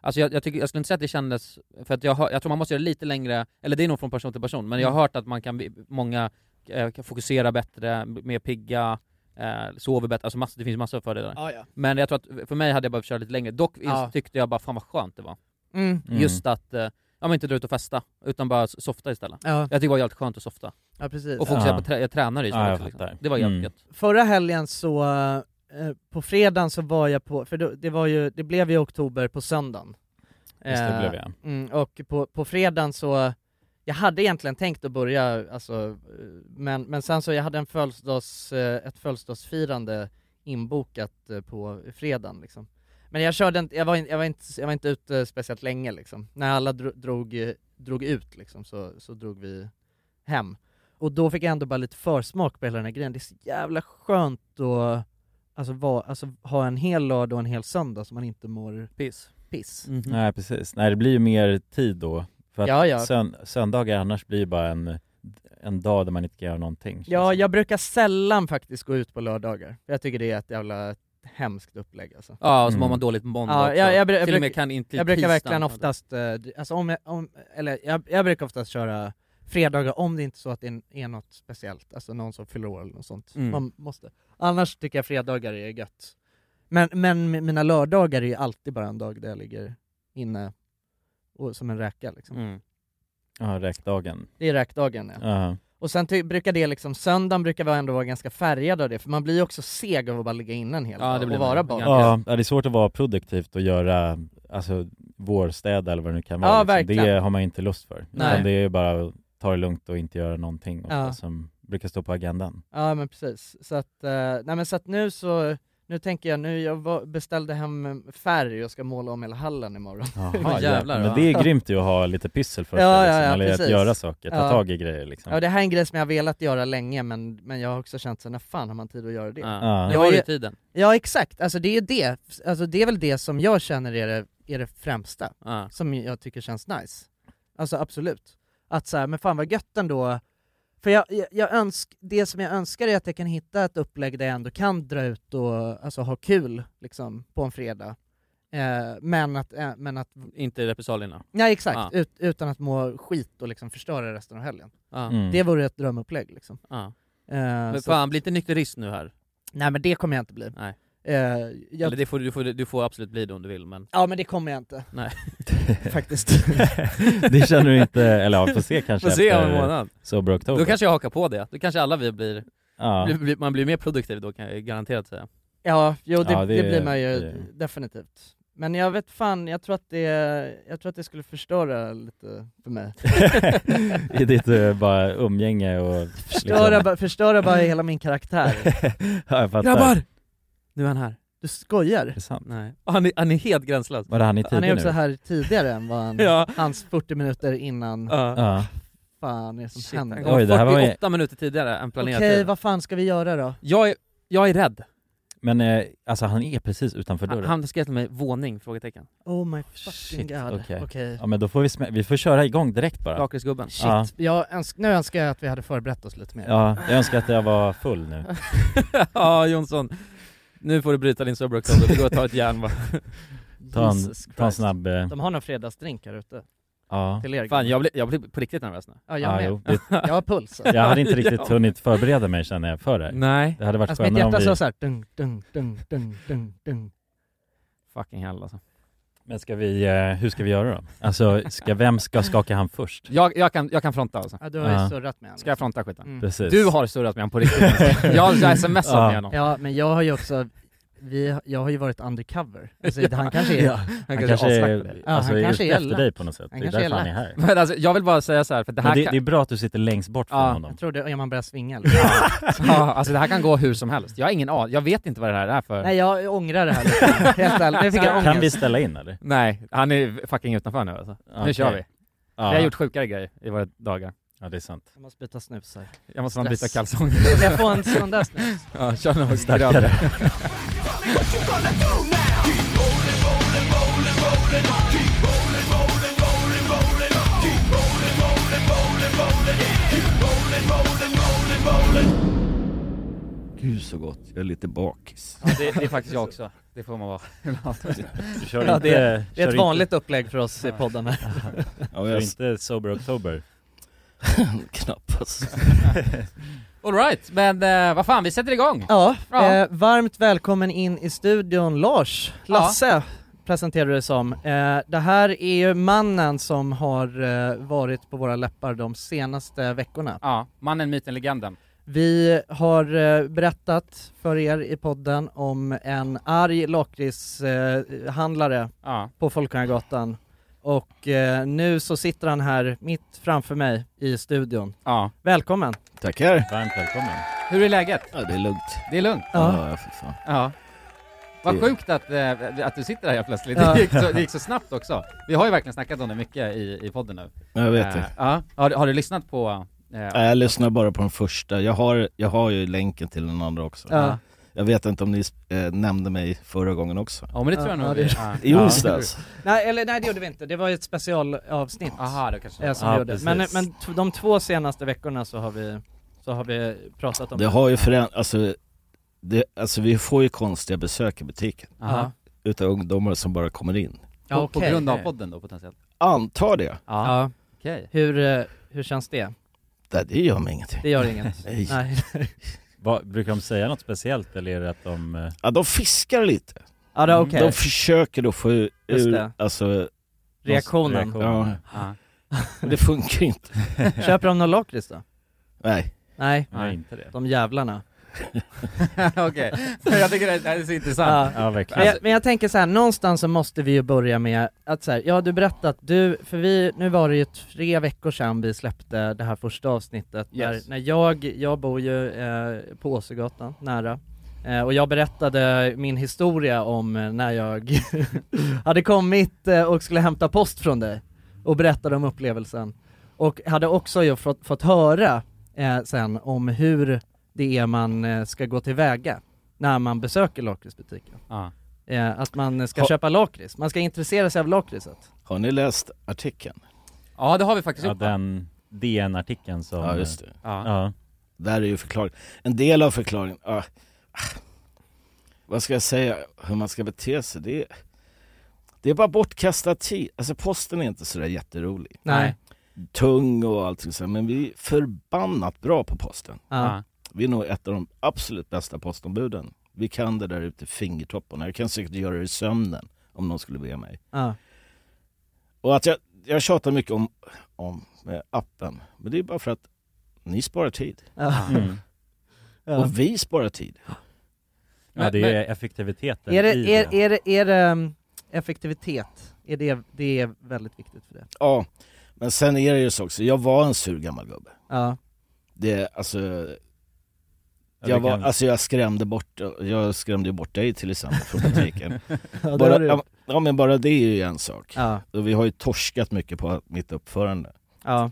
[SPEAKER 2] Alltså jag, jag, tycker, jag skulle inte säga att det kändes, för att jag, har, jag tror man måste göra det lite längre, eller det är nog från person till person, men jag
[SPEAKER 1] Mm.
[SPEAKER 2] har hört att man kan, bli- många eh, kan fokusera bättre, bli mer pigga, eh, sover bättre, alltså massor, det finns massor av fördelar.
[SPEAKER 1] Ja, ja.
[SPEAKER 2] Men jag tror att, för mig hade jag behövt köra lite längre, dock ins-
[SPEAKER 1] Ja.
[SPEAKER 2] tyckte jag bara fan vad skönt det var.
[SPEAKER 1] Mm.
[SPEAKER 3] Mm.
[SPEAKER 2] Just att, eh, ja men inte dra ut och festa, utan bara s- softa istället.
[SPEAKER 1] Ja,
[SPEAKER 2] Jag tycker det var jävligt skönt att softa.
[SPEAKER 1] ja, precis.
[SPEAKER 2] Och fokusera
[SPEAKER 3] Ja.
[SPEAKER 2] på, trä- jag tränar ju
[SPEAKER 3] Ja, jag
[SPEAKER 2] också,
[SPEAKER 3] fattar.
[SPEAKER 2] liksom. Det var jävligt
[SPEAKER 3] Mm.
[SPEAKER 2] gött.
[SPEAKER 1] Förra helgen så, eh, på fredagen så var jag på, för då, det var ju, det blev ju oktober på söndagen.
[SPEAKER 3] Just det
[SPEAKER 1] Eh,
[SPEAKER 3] blev jag.
[SPEAKER 1] Mm, och på, på fredagen så, jag hade egentligen tänkt att börja, alltså, eh, men, men sen så jag hade en födelsedags, eh, ett födelsedagsfirande inbokat eh, på fredagen liksom. Men jag körde inte, jag var, in, jag var, inte, jag var inte ute speciellt länge liksom. När alla dro, drog, eh, drog ut liksom så, så drog vi hem. Och då fick jag ändå bara lite försmak på hela den här grejen. Det är så jävla skönt att alltså, va, alltså, ha en hel lördag och en hel söndag som man inte mår
[SPEAKER 2] Piss.
[SPEAKER 1] piss.
[SPEAKER 3] Nej precis, nej det blir ju mer tid då. För att
[SPEAKER 1] Ja, ja.
[SPEAKER 3] Sön- söndagar annars blir ju bara en, en dag där man inte kan göra någonting. känns
[SPEAKER 1] Ja,
[SPEAKER 2] Liksom.
[SPEAKER 3] det.
[SPEAKER 1] jag brukar sällan faktiskt gå ut på lördagar. Jag tycker det är ett jävla hemskt upplägg alltså.
[SPEAKER 2] Ja, och så mår
[SPEAKER 3] Mm.
[SPEAKER 2] man dåligt på måndag
[SPEAKER 1] Ja,
[SPEAKER 2] också.
[SPEAKER 1] jag- jag bru- jag
[SPEAKER 2] Till och
[SPEAKER 1] brukar-
[SPEAKER 2] med kan inte
[SPEAKER 1] jag brukar
[SPEAKER 2] tisdagen.
[SPEAKER 1] verkligen oftast, eh, d- alltså om jag, om, eller jag, jag brukar oftast köra fredagar om det inte är så att det är- är något speciellt, alltså någon som fyller år eller något sånt.
[SPEAKER 2] Mm.
[SPEAKER 1] Man måste. Annars tycker jag fredagar är gött. Men, men mi- mina lördagar är ju alltid bara en dag där jag ligger inne och, som en räka liksom.
[SPEAKER 2] Mm.
[SPEAKER 3] Ja, räkdagen.
[SPEAKER 1] Det är räkdagen ja.
[SPEAKER 3] Ja.
[SPEAKER 1] Och sen ty- brukar det liksom, söndagen brukar vi ändå vara ganska färgad av det, för man blir ju också seg av att bara ligga inne en hel
[SPEAKER 2] Ja, det
[SPEAKER 1] dag
[SPEAKER 2] blir
[SPEAKER 1] och
[SPEAKER 2] man.
[SPEAKER 1] vara barn.
[SPEAKER 2] Ja.
[SPEAKER 3] Ja, det är svårt att vara produktivt och göra, alltså vårstäda eller vad det nu kan vara. liksom.
[SPEAKER 1] Ja,
[SPEAKER 3] Det
[SPEAKER 1] verkligen.
[SPEAKER 3] har man inte lust för.
[SPEAKER 2] Nej.
[SPEAKER 3] Utan det är ju bara att ta det lugnt och inte göra någonting ofta,
[SPEAKER 1] Ja.
[SPEAKER 3] som brukar stå på agendan.
[SPEAKER 1] Ja men precis, så att, eh, nej men så att nu så, nu tänker jag, nu jag var- beställde hem eh, färg och ska måla om hela hallen imorgon. <laughs>
[SPEAKER 3] Jaha,
[SPEAKER 2] jävlar,
[SPEAKER 3] men
[SPEAKER 2] va?
[SPEAKER 3] det är grymt ju att ha lite pyssel först,
[SPEAKER 1] Ja,
[SPEAKER 3] liksom,
[SPEAKER 1] ja, ja,
[SPEAKER 3] eller att
[SPEAKER 1] precis.
[SPEAKER 3] göra saker, ta
[SPEAKER 1] Ja.
[SPEAKER 3] tag i grejer liksom.
[SPEAKER 1] Ja det här är en grej som jag har velat göra länge men, men jag har också känt så när fan har man tid att göra det? Ja,
[SPEAKER 2] Ja. Nu
[SPEAKER 1] Jag
[SPEAKER 2] har du
[SPEAKER 1] är-
[SPEAKER 2] tiden.
[SPEAKER 1] exakt, alltså det är ju det, alltså det är väl det som jag känner är det, är det främsta,
[SPEAKER 2] Ja.
[SPEAKER 1] som jag tycker känns nice. Alltså absolut. Att så här, men fan vad gött ändå, för jag, jag, jag önsk, det som jag önskar är att jag kan hitta ett upplägg där jag ändå kan dra ut och alltså, ha kul liksom, på en fredag. Eh, men, att, eh, men att,
[SPEAKER 2] Inte repressalierna.
[SPEAKER 1] nej exakt,
[SPEAKER 2] Ja.
[SPEAKER 1] ut, utan att må skit och liksom förstöra resten av helgen.
[SPEAKER 2] Ja.
[SPEAKER 3] Mm.
[SPEAKER 1] Det vore ett drömupplägg liksom.
[SPEAKER 2] Ja.
[SPEAKER 1] Eh,
[SPEAKER 2] Men
[SPEAKER 1] så,
[SPEAKER 2] fan, bli inte nykterist nu här.
[SPEAKER 1] nej men det kommer jag inte bli.
[SPEAKER 2] Nej.
[SPEAKER 1] Eh, jag,
[SPEAKER 2] Eller det får, du, får, du får absolut bli det om du vill, men...
[SPEAKER 1] Ja men det kommer jag
[SPEAKER 2] <laughs>
[SPEAKER 1] inte.
[SPEAKER 2] Nej.
[SPEAKER 3] <laughs>
[SPEAKER 1] Faktiskt.
[SPEAKER 3] det <laughs> känner du inte, eller ja, får se kanske
[SPEAKER 2] Får se om en
[SPEAKER 3] efter
[SPEAKER 2] månad.
[SPEAKER 3] Sober October.
[SPEAKER 2] Då kanske jag hakar på det. Då kanske alla vi blir...
[SPEAKER 3] ja.
[SPEAKER 2] blir- blir- Man blir mer produktiv då, kan jag garanterat säga.
[SPEAKER 1] Ja, jo det,
[SPEAKER 3] Ja, det-
[SPEAKER 1] det, blir man ju
[SPEAKER 3] det-
[SPEAKER 1] definitivt. Men jag vet fan, jag tror att det, jag tror att det skulle förstöra lite för mig.
[SPEAKER 3] <laughs> Liksom. I ditt eh, bara umgänge och liksom-
[SPEAKER 1] Förstöra, bara, förstöra bara hela min
[SPEAKER 3] <laughs>
[SPEAKER 1] karaktär.
[SPEAKER 3] ja, jag fattar.
[SPEAKER 2] Grabbar! Nu är han här.
[SPEAKER 1] Du skojar?
[SPEAKER 3] Intressant.
[SPEAKER 2] Nej. Och Han är, han är helt gränslös.
[SPEAKER 3] Var det han i
[SPEAKER 1] Han är
[SPEAKER 3] tidig
[SPEAKER 1] också
[SPEAKER 3] nu?
[SPEAKER 1] här tidigare än vad
[SPEAKER 3] <laughs>
[SPEAKER 1] han,
[SPEAKER 2] Ja.
[SPEAKER 1] hans 40 minuter innan,
[SPEAKER 2] Ja.
[SPEAKER 3] Ja.
[SPEAKER 1] fan är det som
[SPEAKER 2] Shit, han
[SPEAKER 1] händer?
[SPEAKER 2] kom
[SPEAKER 3] Oj, det här var ju-
[SPEAKER 2] 48 minuter tidigare än
[SPEAKER 1] Okej,
[SPEAKER 2] planerat.
[SPEAKER 1] vad fan ska vi göra då?
[SPEAKER 2] Jag, är, jag är rädd.
[SPEAKER 3] Men eh, alltså han är precis utanför
[SPEAKER 2] Han,
[SPEAKER 3] dörren.
[SPEAKER 2] han skrev till mig våning? Frågetecken.
[SPEAKER 1] Oh my fucking
[SPEAKER 3] Shit,
[SPEAKER 1] god.
[SPEAKER 3] okej.
[SPEAKER 1] Okej.
[SPEAKER 3] Ja men då får vi, smä- vi får köra igång direkt bara.
[SPEAKER 2] Lakritsgubben.
[SPEAKER 1] Shit,
[SPEAKER 3] Ja.
[SPEAKER 1] jag önsk, nu önskar jag att vi hade förberett oss lite mer.
[SPEAKER 3] Ja, jag önskar att jag var full nu.
[SPEAKER 2] <laughs> ja, Jonsson. Nu får du bryta din sober också, du går och tar ett järn bara.
[SPEAKER 3] Ta en,
[SPEAKER 1] Jesus
[SPEAKER 3] ta en
[SPEAKER 1] Christ.
[SPEAKER 3] snabb... Eh,
[SPEAKER 1] De har någon fredagsdrink här ute,
[SPEAKER 3] ja.
[SPEAKER 1] till er.
[SPEAKER 2] Fan, jag blir, jag blir på riktigt nervös nu.
[SPEAKER 1] ja, jag
[SPEAKER 3] Ja,
[SPEAKER 1] med.
[SPEAKER 3] jo, det,
[SPEAKER 1] Jag har
[SPEAKER 3] <laughs>
[SPEAKER 1] puls.
[SPEAKER 3] jag
[SPEAKER 1] <laughs>
[SPEAKER 3] hade inte
[SPEAKER 2] Ja.
[SPEAKER 3] riktigt hunnit förbereda mig känner jag för det.
[SPEAKER 2] Nej.
[SPEAKER 3] Det hade varit
[SPEAKER 1] Alltså mitt
[SPEAKER 3] skönare om
[SPEAKER 1] hjärta
[SPEAKER 3] vi...
[SPEAKER 1] slår såhär dung, dung, dung, dung, dung, dung.
[SPEAKER 2] Fucking hell alltså.
[SPEAKER 3] Men ska vi, eh, hur ska vi göra då? Alltså, ska, vem ska skaka hand först?
[SPEAKER 2] Jag, jag, kan, jag kan fronta alltså.
[SPEAKER 1] Ja du har ju
[SPEAKER 3] Ja.
[SPEAKER 1] surrat med honom.
[SPEAKER 2] Ska jag fronta skiten?
[SPEAKER 1] Mm.
[SPEAKER 3] Precis.
[SPEAKER 2] Du har surrat med honom på <laughs> riktigt. alltså. jag har smsat
[SPEAKER 3] Ja.
[SPEAKER 2] med honom.
[SPEAKER 1] Ja men jag har ju också, vi, jag har ju varit undercover. Alltså, han <laughs> kanske är,
[SPEAKER 2] Han
[SPEAKER 3] Han
[SPEAKER 2] kanske
[SPEAKER 3] kanske
[SPEAKER 2] är
[SPEAKER 3] är,
[SPEAKER 2] aslack på
[SPEAKER 1] Ja,
[SPEAKER 3] alltså,
[SPEAKER 1] han
[SPEAKER 3] är
[SPEAKER 1] kanske
[SPEAKER 3] ute
[SPEAKER 1] är
[SPEAKER 3] efter
[SPEAKER 1] elak.
[SPEAKER 3] dig på något sätt.
[SPEAKER 1] Han
[SPEAKER 3] det är
[SPEAKER 1] kanske
[SPEAKER 3] därför
[SPEAKER 1] är
[SPEAKER 3] han är här.
[SPEAKER 2] det. <laughs> Men alltså, jag vill bara säga så här för det
[SPEAKER 3] Men
[SPEAKER 2] här
[SPEAKER 3] det,
[SPEAKER 2] kan...
[SPEAKER 3] det är bra att du sitter längst bort från
[SPEAKER 2] Ja,
[SPEAKER 1] jag
[SPEAKER 3] honom.
[SPEAKER 1] tror det, ja man börjar svinga lite.
[SPEAKER 2] <laughs> Ja, alltså det här kan gå hur som helst. Jag har ingen aning, jag vet inte vad det här är för...
[SPEAKER 1] Nej jag ångrar det här lite. helt ärligt. Nu fick jag
[SPEAKER 3] Kan vi
[SPEAKER 1] ångest.
[SPEAKER 3] ställa in eller?
[SPEAKER 2] Nej, han är fucking utanför nu alltså. Nu
[SPEAKER 3] Okej.
[SPEAKER 2] kör vi.
[SPEAKER 3] Ja.
[SPEAKER 2] Vi har gjort sjukare grejer i våra dagar.
[SPEAKER 3] Ja, det är sant.
[SPEAKER 1] Jag måste byta snus här.
[SPEAKER 2] Jag måste fan
[SPEAKER 1] Stress.
[SPEAKER 2] byta kalsonger. <laughs>
[SPEAKER 1] Kan jag få en sån där snus?
[SPEAKER 2] ja, kör någon
[SPEAKER 3] Starkare.
[SPEAKER 7] Gud så gott, jag är lite
[SPEAKER 3] <laughs>
[SPEAKER 7] bakis.
[SPEAKER 2] Ja, det, det är faktiskt jag också. Det får man vara.
[SPEAKER 3] Du kör
[SPEAKER 1] Ja,
[SPEAKER 3] inte...
[SPEAKER 1] Det är ett vanligt upplägg för oss i podden här.
[SPEAKER 7] Ja,
[SPEAKER 3] Kör
[SPEAKER 7] jag
[SPEAKER 3] inte Sober October.
[SPEAKER 7] knappast.
[SPEAKER 2] Alright, men eh, vad fan, vi sätter igång!
[SPEAKER 1] Ja,
[SPEAKER 2] Ja.
[SPEAKER 1] Eh, varmt välkommen in i studion Lars, Lasse presenterar du det som. Eh, det här är ju mannen som har eh, varit på våra läppar de senaste veckorna.
[SPEAKER 2] Ja, mannen, myten, legenden.
[SPEAKER 1] Vi har eh, berättat för er i podden om en arg lakritshandlare eh, handlare
[SPEAKER 2] Ja.
[SPEAKER 1] på Folkungagatan och eh, nu så sitter han här mitt framför mig i studion.
[SPEAKER 2] ja.
[SPEAKER 1] Välkommen!
[SPEAKER 7] Tackar.
[SPEAKER 3] Varmt välkommen.
[SPEAKER 2] Hur är läget?
[SPEAKER 7] Ja, det är lugnt.
[SPEAKER 2] Det är lugnt?
[SPEAKER 7] Ja, ja för fan.
[SPEAKER 2] Ja. Vad
[SPEAKER 7] Det-
[SPEAKER 2] sjukt
[SPEAKER 8] <laughs>
[SPEAKER 2] att, eh, att du sitter här helt plötsligt.
[SPEAKER 1] Ja.
[SPEAKER 2] Det, gick så, det gick så snabbt också. Vi har ju verkligen snackat om det mycket i, i podden nu.
[SPEAKER 7] Jag vet
[SPEAKER 2] Eh,
[SPEAKER 7] det.
[SPEAKER 2] Ja. Har, du- har du lyssnat på Eh,
[SPEAKER 7] Nej, jag lyssnar bara på den första. Jag har, jag har ju länken till den andra också.
[SPEAKER 1] Ja.
[SPEAKER 7] Jag vet inte om ni eh, nämnde mig förra gången också.
[SPEAKER 2] Ja men det tror jag
[SPEAKER 1] Ja,
[SPEAKER 2] nog
[SPEAKER 1] ja,
[SPEAKER 2] vi-
[SPEAKER 1] det-
[SPEAKER 2] ja.
[SPEAKER 7] I onsdags.
[SPEAKER 1] Nej, eller, nej det gjorde vi inte, det var ju ett specialavsnitt
[SPEAKER 2] Aha, då kanske
[SPEAKER 1] eh, som
[SPEAKER 3] Ja,
[SPEAKER 1] vi gjorde. Men,
[SPEAKER 3] precis.
[SPEAKER 1] men t- de två senaste veckorna så har vi, så har vi pratat om
[SPEAKER 7] Det har ju förändrats, alltså, det, alltså vi får ju konstiga besök i butiken.
[SPEAKER 2] Aha.
[SPEAKER 7] Utav ungdomar som bara kommer in.
[SPEAKER 1] Ja,
[SPEAKER 2] på, på
[SPEAKER 1] okej.
[SPEAKER 2] grund av podden då potentiellt?
[SPEAKER 7] Antar det.
[SPEAKER 2] Ja,
[SPEAKER 1] Ja,
[SPEAKER 2] okej.
[SPEAKER 1] hur, eh, hur känns det?
[SPEAKER 7] Nej, det gör mig ingenting.
[SPEAKER 1] Det gör
[SPEAKER 7] <laughs>
[SPEAKER 1] inget.
[SPEAKER 7] Nej.
[SPEAKER 1] Nej.
[SPEAKER 3] Vad, brukar de säga något speciellt eller är det att de... eh,
[SPEAKER 7] Ja, de fiskar lite.
[SPEAKER 1] <laughs> Ja, det är okej.
[SPEAKER 7] De försöker då få ur,
[SPEAKER 1] Just
[SPEAKER 7] ur
[SPEAKER 1] det.
[SPEAKER 7] alltså,
[SPEAKER 1] Reaktionen.
[SPEAKER 3] reaktion?
[SPEAKER 7] ja,
[SPEAKER 2] Ja. <laughs>
[SPEAKER 7] men det funkar ju inte.
[SPEAKER 1] Köper de någon lakrits då?
[SPEAKER 7] Nej.
[SPEAKER 1] Nej,
[SPEAKER 3] Nej, inte det.
[SPEAKER 1] de jävlarna.
[SPEAKER 2] Okej, <laughs> jag tycker det här är så intressant.
[SPEAKER 1] Ja.
[SPEAKER 3] Ja,
[SPEAKER 1] Men
[SPEAKER 3] verkligen.
[SPEAKER 1] jag, men jag tänker så här, någonstans så måste vi ju börja med att så här, ja du berättat, du, för vi, nu var det ju tre veckor sedan vi släppte det här första avsnittet,
[SPEAKER 2] Yes.
[SPEAKER 1] när, när jag, jag bor ju eh, på Åsögatan, nära, eh, och jag berättade min historia om eh, när jag <laughs> hade kommit eh, och skulle hämta post från dig, och berättade om upplevelsen, och hade också ju fått, fått höra eh, sen om hur det är man eh, ska gå tillväga när man besöker lakritsbutiken.
[SPEAKER 2] Ja.
[SPEAKER 1] Eh, att man ska
[SPEAKER 7] Ha-
[SPEAKER 1] köpa lakrits, man ska intressera sig av lakritset.
[SPEAKER 7] Har ni läst artikeln?
[SPEAKER 2] ja, det har vi faktiskt
[SPEAKER 3] Ja,
[SPEAKER 2] gjort. Ja,
[SPEAKER 3] den DN-artikeln som...
[SPEAKER 7] Ja, just det.
[SPEAKER 3] Ja.
[SPEAKER 7] Där är ju förklaringen. En del av förklaringen, ah, ah, vad ska jag säga, hur man ska bete sig, det är, det är bara bortkastad tid. Alltså posten är inte sådär jätterolig.
[SPEAKER 2] Nej.
[SPEAKER 7] Tung och allting sådär, men vi är förbannat bra på posten.
[SPEAKER 1] Ja.
[SPEAKER 7] Vi är nog ett av de absolut bästa postombuden. Vi kan det där ute i fingertopparna. Jag kan säkert göra det i sömnen om någon skulle be mig.
[SPEAKER 1] Ja.
[SPEAKER 7] Och att jag, jag tjatar mycket om, om eh, appen, men det är bara för att ni sparar tid.
[SPEAKER 1] Ja.
[SPEAKER 3] Mm.
[SPEAKER 1] Ja.
[SPEAKER 7] Och vi sparar tid.
[SPEAKER 3] Ja, det är effektiviteten
[SPEAKER 1] Är det,
[SPEAKER 3] i
[SPEAKER 1] är, är det, är det um, effektivitet? Är det, det är väldigt viktigt för det.
[SPEAKER 7] Ja, men sen är det ju så också, jag var en sur gammal gubbe.
[SPEAKER 1] Ja.
[SPEAKER 7] Det, alltså,
[SPEAKER 3] Ja, det
[SPEAKER 7] jag, var,
[SPEAKER 3] kan-
[SPEAKER 7] alltså jag skrämde bort, jag skrämde ju bort dig till exempel från butiken.
[SPEAKER 1] Ja, det har
[SPEAKER 7] bara,
[SPEAKER 1] du gjort.
[SPEAKER 7] ja, ja men bara det är ju en sak.
[SPEAKER 1] ja.
[SPEAKER 7] Och vi har ju torskat mycket på mitt uppförande.
[SPEAKER 1] ja.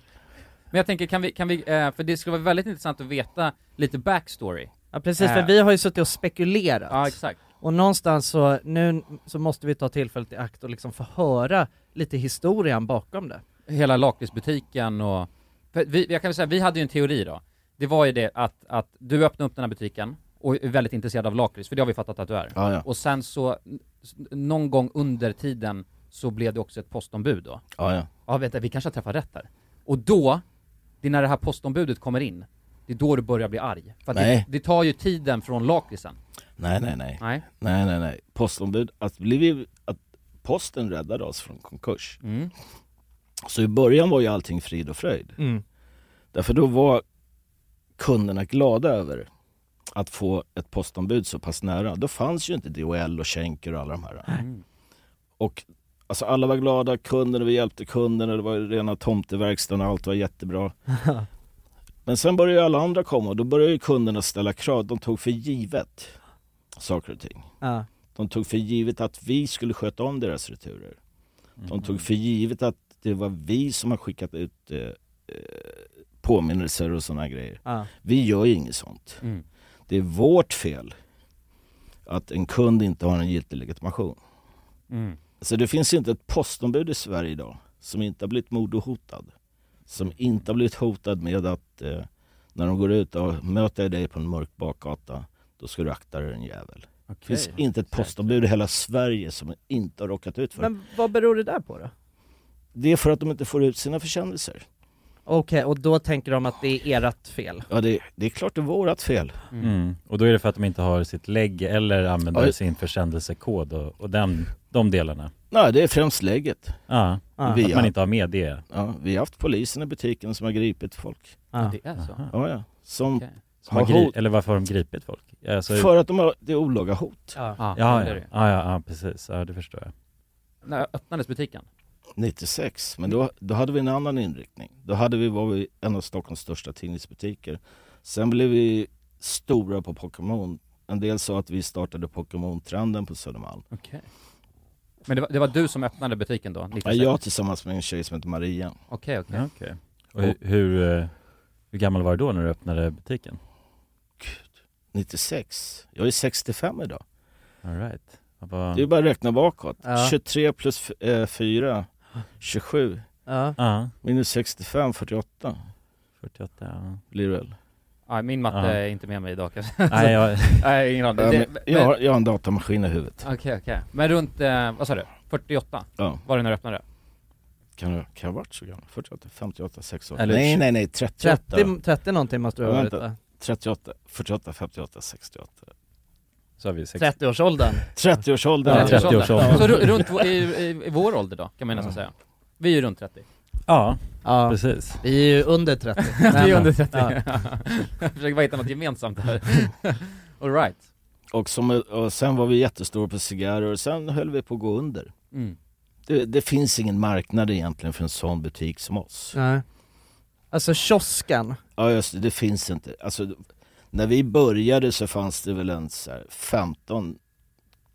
[SPEAKER 2] Men jag tänker, kan vi, kan vi, eh, för det skulle vara väldigt intressant att veta lite backstory.
[SPEAKER 1] ja precis,
[SPEAKER 2] Äh.
[SPEAKER 1] för vi har ju suttit och spekulerat.
[SPEAKER 2] Ja, exakt.
[SPEAKER 1] Och någonstans så, nu så måste vi ta tillfället i akt och liksom få höra lite historien bakom det.
[SPEAKER 2] Hela lakritsbutiken och... För vi, jag kan väl säga, vi hade ju en teori då. Det var ju det att, att du öppnade upp den här butiken och är väldigt intresserad av lakrits, för det har vi fattat att du är.
[SPEAKER 7] Ja, ja.
[SPEAKER 2] Och sen så, s- någon gång under tiden så blev det också ett postombud då.
[SPEAKER 7] ja, ja.
[SPEAKER 2] Ja vänta, vi kanske har träffat rätt här. Och då, det är när det här postombudet kommer in, det är då du börjar bli arg. För att det,
[SPEAKER 7] Nej.
[SPEAKER 2] det tar ju tiden från lakritsen.
[SPEAKER 7] Nej, nej, nej.
[SPEAKER 2] Nej.
[SPEAKER 7] Nej, nej, nej. Postombud, att, blev vi, att posten räddade oss från konkurs.
[SPEAKER 2] Mm.
[SPEAKER 7] Så i början var ju allting frid och fröjd. Därför då var kunderna glada över att få ett postombud så pass nära. Då fanns ju inte DHL och Schenker och alla de här. Och alltså alla var glada, kunderna, vi hjälpte kunderna, det var ju rena tomteverkstan och allt var jättebra. Men sen började ju alla andra komma och då började ju kunderna ställa krav. De tog för givet saker och ting.
[SPEAKER 1] Ja.
[SPEAKER 7] De tog för givet att vi skulle sköta om deras returer. De
[SPEAKER 2] Mhm.
[SPEAKER 7] tog för givet att det var vi som har skickat ut eh, eh, påminnelser och sådana grejer.
[SPEAKER 1] Ja.
[SPEAKER 7] Vi gör ju inget sånt.
[SPEAKER 2] Mm.
[SPEAKER 7] Det är vårt fel att en kund inte har en giltig legitimation.
[SPEAKER 2] Mm.
[SPEAKER 7] Så det finns inte ett postombud i Sverige idag som inte har blivit mordhotad. Som inte har blivit hotad med att eh, när de går ut och möter dig på en mörk bakgata, då ska du akta dig en jävel. Det
[SPEAKER 2] Okej.
[SPEAKER 7] finns inte ett postombud i hela Sverige som inte har råkat ut för det.
[SPEAKER 1] Men vad beror det där på då?
[SPEAKER 7] Det är för att de inte får ut sina försändelser.
[SPEAKER 1] Okej, och då tänker de att det är ert fel?
[SPEAKER 7] Ja, det, det är klart det är vårat fel.
[SPEAKER 3] Mm. Och då är det för att de inte har sitt lägg eller använder
[SPEAKER 7] Oj.
[SPEAKER 3] sin försändelsekod och, och den, de delarna.
[SPEAKER 7] Nej, det är främst läget.
[SPEAKER 3] Ja,
[SPEAKER 1] Ja.
[SPEAKER 7] Vi-
[SPEAKER 3] att man inte har med det.
[SPEAKER 7] Ja, vi har haft polisen i butiken som har gripit folk.
[SPEAKER 1] Ja.
[SPEAKER 2] Det är så?
[SPEAKER 3] Aha.
[SPEAKER 7] Ja, ja. Som
[SPEAKER 2] Okej.
[SPEAKER 3] Som har
[SPEAKER 7] har
[SPEAKER 3] gri-
[SPEAKER 7] hot.
[SPEAKER 3] eller varför har de gripit folk? Alltså,
[SPEAKER 7] För att de har, det är olaga hot.
[SPEAKER 1] Ja.
[SPEAKER 2] Ja,
[SPEAKER 3] ja,
[SPEAKER 2] det är
[SPEAKER 3] ja.
[SPEAKER 2] det.
[SPEAKER 3] Ja, ja, ja, precis. Ja, det förstår jag.
[SPEAKER 2] När öppnades butiken?
[SPEAKER 7] 96, men då, då hade vi en annan inriktning. Då hade vi, var vi en av Stockholms största tidningsbutiker. Sen blev vi stora på Pokémon. En del sa att vi startade Pokémon-trenden på Södermalm.
[SPEAKER 2] Okej. Men det var, det var du som öppnade butiken då?
[SPEAKER 7] Ja,
[SPEAKER 2] 96?
[SPEAKER 7] jag tillsammans med en tjej som heter Maria.
[SPEAKER 2] Okej, okej.
[SPEAKER 3] Ja, okej. Och hur, hur, eh, Hur gammal var du då när du öppnade butiken?
[SPEAKER 7] 96. Jag är 65 idag.
[SPEAKER 3] All right. Vad var-
[SPEAKER 7] Det är bara att räkna bakåt.
[SPEAKER 1] Ja.
[SPEAKER 7] 23 plus eh, 4, 27.
[SPEAKER 1] Ja.
[SPEAKER 3] Ja,
[SPEAKER 7] Minus 65, 48
[SPEAKER 3] 48 ja.
[SPEAKER 7] blir det väl?
[SPEAKER 2] Ja, min matte
[SPEAKER 3] Ja.
[SPEAKER 2] är inte med mig idag kanske. <laughs>
[SPEAKER 3] Nej, jag,
[SPEAKER 2] Nej, ingen aning.
[SPEAKER 7] Ja,
[SPEAKER 2] Det-
[SPEAKER 7] men,
[SPEAKER 2] men-
[SPEAKER 7] jag, har, jag har en datamaskin i huvudet.
[SPEAKER 2] Okej, okej. Men runt, eh, vad sa du? 48
[SPEAKER 7] Ja.
[SPEAKER 2] var det när du öppnade?
[SPEAKER 7] Kan jag, kan jag ha varit så gammal? 48, 58, 68?
[SPEAKER 3] Eller
[SPEAKER 7] nej,
[SPEAKER 3] tjugo-
[SPEAKER 7] nej, nej, 38.
[SPEAKER 1] 30, 30 någonting måste du ha
[SPEAKER 7] Ja,
[SPEAKER 1] varit
[SPEAKER 7] vänta.
[SPEAKER 1] va?
[SPEAKER 7] 38, 48, 58, 68.
[SPEAKER 3] så har vi 60.
[SPEAKER 1] 30-årsåldern?
[SPEAKER 7] 30-årsåldern.
[SPEAKER 3] Ja, 30 års ålder.
[SPEAKER 2] Så ru- runt vår- i, i, i vår ålder då, kan man ju nästan säga. Vi är ju runt 30.
[SPEAKER 3] Ja,
[SPEAKER 1] Ja,
[SPEAKER 3] precis.
[SPEAKER 1] vi är ju under 30
[SPEAKER 7] <laughs>
[SPEAKER 2] Vi är
[SPEAKER 1] Men-
[SPEAKER 2] under 30.
[SPEAKER 1] Ja.
[SPEAKER 2] <laughs> Jag försöker bara hitta något gemensamt här. All right.
[SPEAKER 7] Och, som, och sen var vi jättestora på cigarrer och sen höll vi på att gå under.
[SPEAKER 2] Mm.
[SPEAKER 7] Det, det finns ingen marknad egentligen för en sån butik som oss.
[SPEAKER 1] Nej. Alltså kiosken,
[SPEAKER 7] Ja just det, det finns inte. Alltså, när vi började så fanns det väl en så här 15,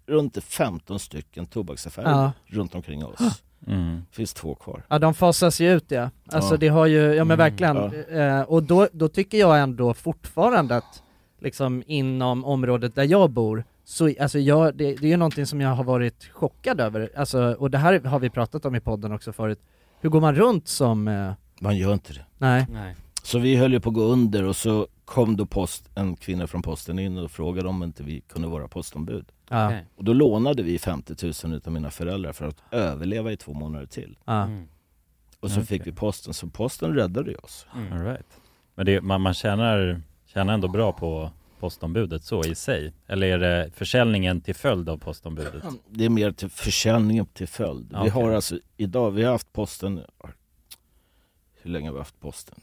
[SPEAKER 7] runt 15 stycken tobaksaffärer
[SPEAKER 1] Ja.
[SPEAKER 7] runt omkring oss.
[SPEAKER 3] Mm.
[SPEAKER 7] finns två kvar.
[SPEAKER 1] ja de fasas ju ut ja. Alltså
[SPEAKER 7] Ja.
[SPEAKER 1] det har ju, ja men
[SPEAKER 2] Mm,
[SPEAKER 1] verkligen.
[SPEAKER 7] ja.
[SPEAKER 1] Eh, och då, då tycker jag ändå fortfarande att liksom inom området där jag bor, så alltså jag, det, det är ju någonting som jag har varit chockad över, alltså, och det här har vi pratat om i podden också förut. Hur går man runt som, eh,
[SPEAKER 7] Man gör inte det.
[SPEAKER 1] nej,
[SPEAKER 2] Nej.
[SPEAKER 7] Så vi höll ju på att gå under och så kom då post, en kvinna från posten in och frågade om inte vi kunde vara postombud.
[SPEAKER 1] ja,
[SPEAKER 2] Okej.
[SPEAKER 7] Och då lånade vi 50 000 utav mina föräldrar för att överleva i två månader till.
[SPEAKER 1] ja.
[SPEAKER 2] Mm.
[SPEAKER 7] Och så
[SPEAKER 3] Okej.
[SPEAKER 7] fick vi posten, så posten räddade ju oss.
[SPEAKER 3] All
[SPEAKER 2] Mm.
[SPEAKER 3] right. Men det, man, man tjänar, tjänar ändå bra på postombudet så i sig? Eller är det försäljningen till följd av postombudet?
[SPEAKER 7] Det är mer till försäljningen till följd. Vi
[SPEAKER 3] Okej.
[SPEAKER 7] har alltså idag, vi har haft posten, hur länge har vi haft posten?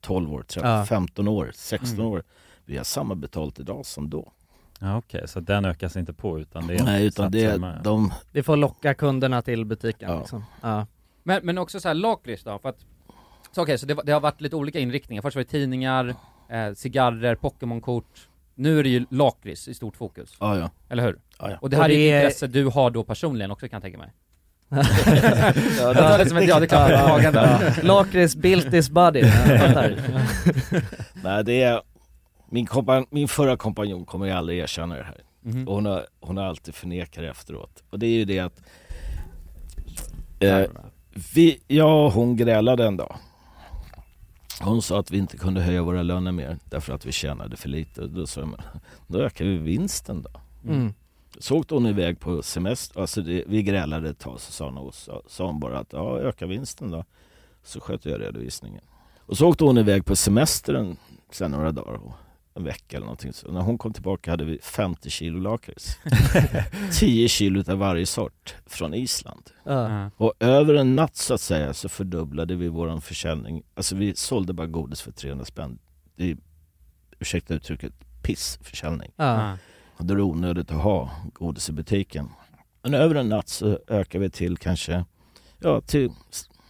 [SPEAKER 7] 12 år, 13,
[SPEAKER 1] Ja.
[SPEAKER 7] 15 år, 16
[SPEAKER 2] Mm.
[SPEAKER 7] år. Vi har samma betalt idag som då.
[SPEAKER 3] Ja, Okej, så den ökas inte på utan det är
[SPEAKER 7] Nej, utan
[SPEAKER 3] satt
[SPEAKER 7] det
[SPEAKER 3] samma-
[SPEAKER 7] är de,
[SPEAKER 1] Det får locka kunderna till butiken
[SPEAKER 7] Ja.
[SPEAKER 1] liksom. Ja.
[SPEAKER 2] Men, men också så här lakrits då, för att... Så okej, så det, var- det har varit lite olika inriktningar. Först var det tidningar, eh, cigarrer, Pokémonkort. Nu är det ju lakrits i stort fokus,
[SPEAKER 7] ja ja.
[SPEAKER 2] eller hur?
[SPEAKER 7] Ja, ja.
[SPEAKER 2] Och det här
[SPEAKER 1] Och
[SPEAKER 2] är
[SPEAKER 1] det
[SPEAKER 2] ett
[SPEAKER 1] är-
[SPEAKER 2] intresse du har då personligen också kan jag tänka mig.
[SPEAKER 1] ja, <laughs>
[SPEAKER 2] Jag tar det som ett ja, det är klart. Magen där.
[SPEAKER 1] Lakrits built this body, jag fattar.
[SPEAKER 7] Nej, det är, min, kompan, min förra kompanjon kommer ju aldrig erkänna det här.
[SPEAKER 2] Mhm.
[SPEAKER 7] Och hon har, hon har alltid förnekat det efteråt. Och det är ju det att eh, vi, jag och hon grälade en dag. Hon sa att vi inte kunde höja våra löner mer därför att vi tjänade för lite. Och Då sa jag, "Men då ökar vi vinsten då.
[SPEAKER 1] Mm.
[SPEAKER 7] Så åkte hon iväg på semester, alltså det, vi grälade ett tag så sa hon, och sa, sa hon bara att ja, öka vinsten då. Så sköt jag redovisningen. Och så åkte hon iväg på semestern sen några dagar, och en vecka eller någonting. Så när hon kom tillbaka hade vi 50 kilo lakrits. 10 kilo av varje sort från Island.
[SPEAKER 1] Ja.
[SPEAKER 2] Ja.
[SPEAKER 7] Och över en natt så att säga så fördubblade vi våran försäljning. Alltså vi sålde bara godis för 300 spänn. Det är, ursäkta uttrycket, pissförsäljning.
[SPEAKER 1] Ja.
[SPEAKER 7] Och Då är det onödigt att ha godis i butiken. Men över en natt så ökar vi till kanske, ja till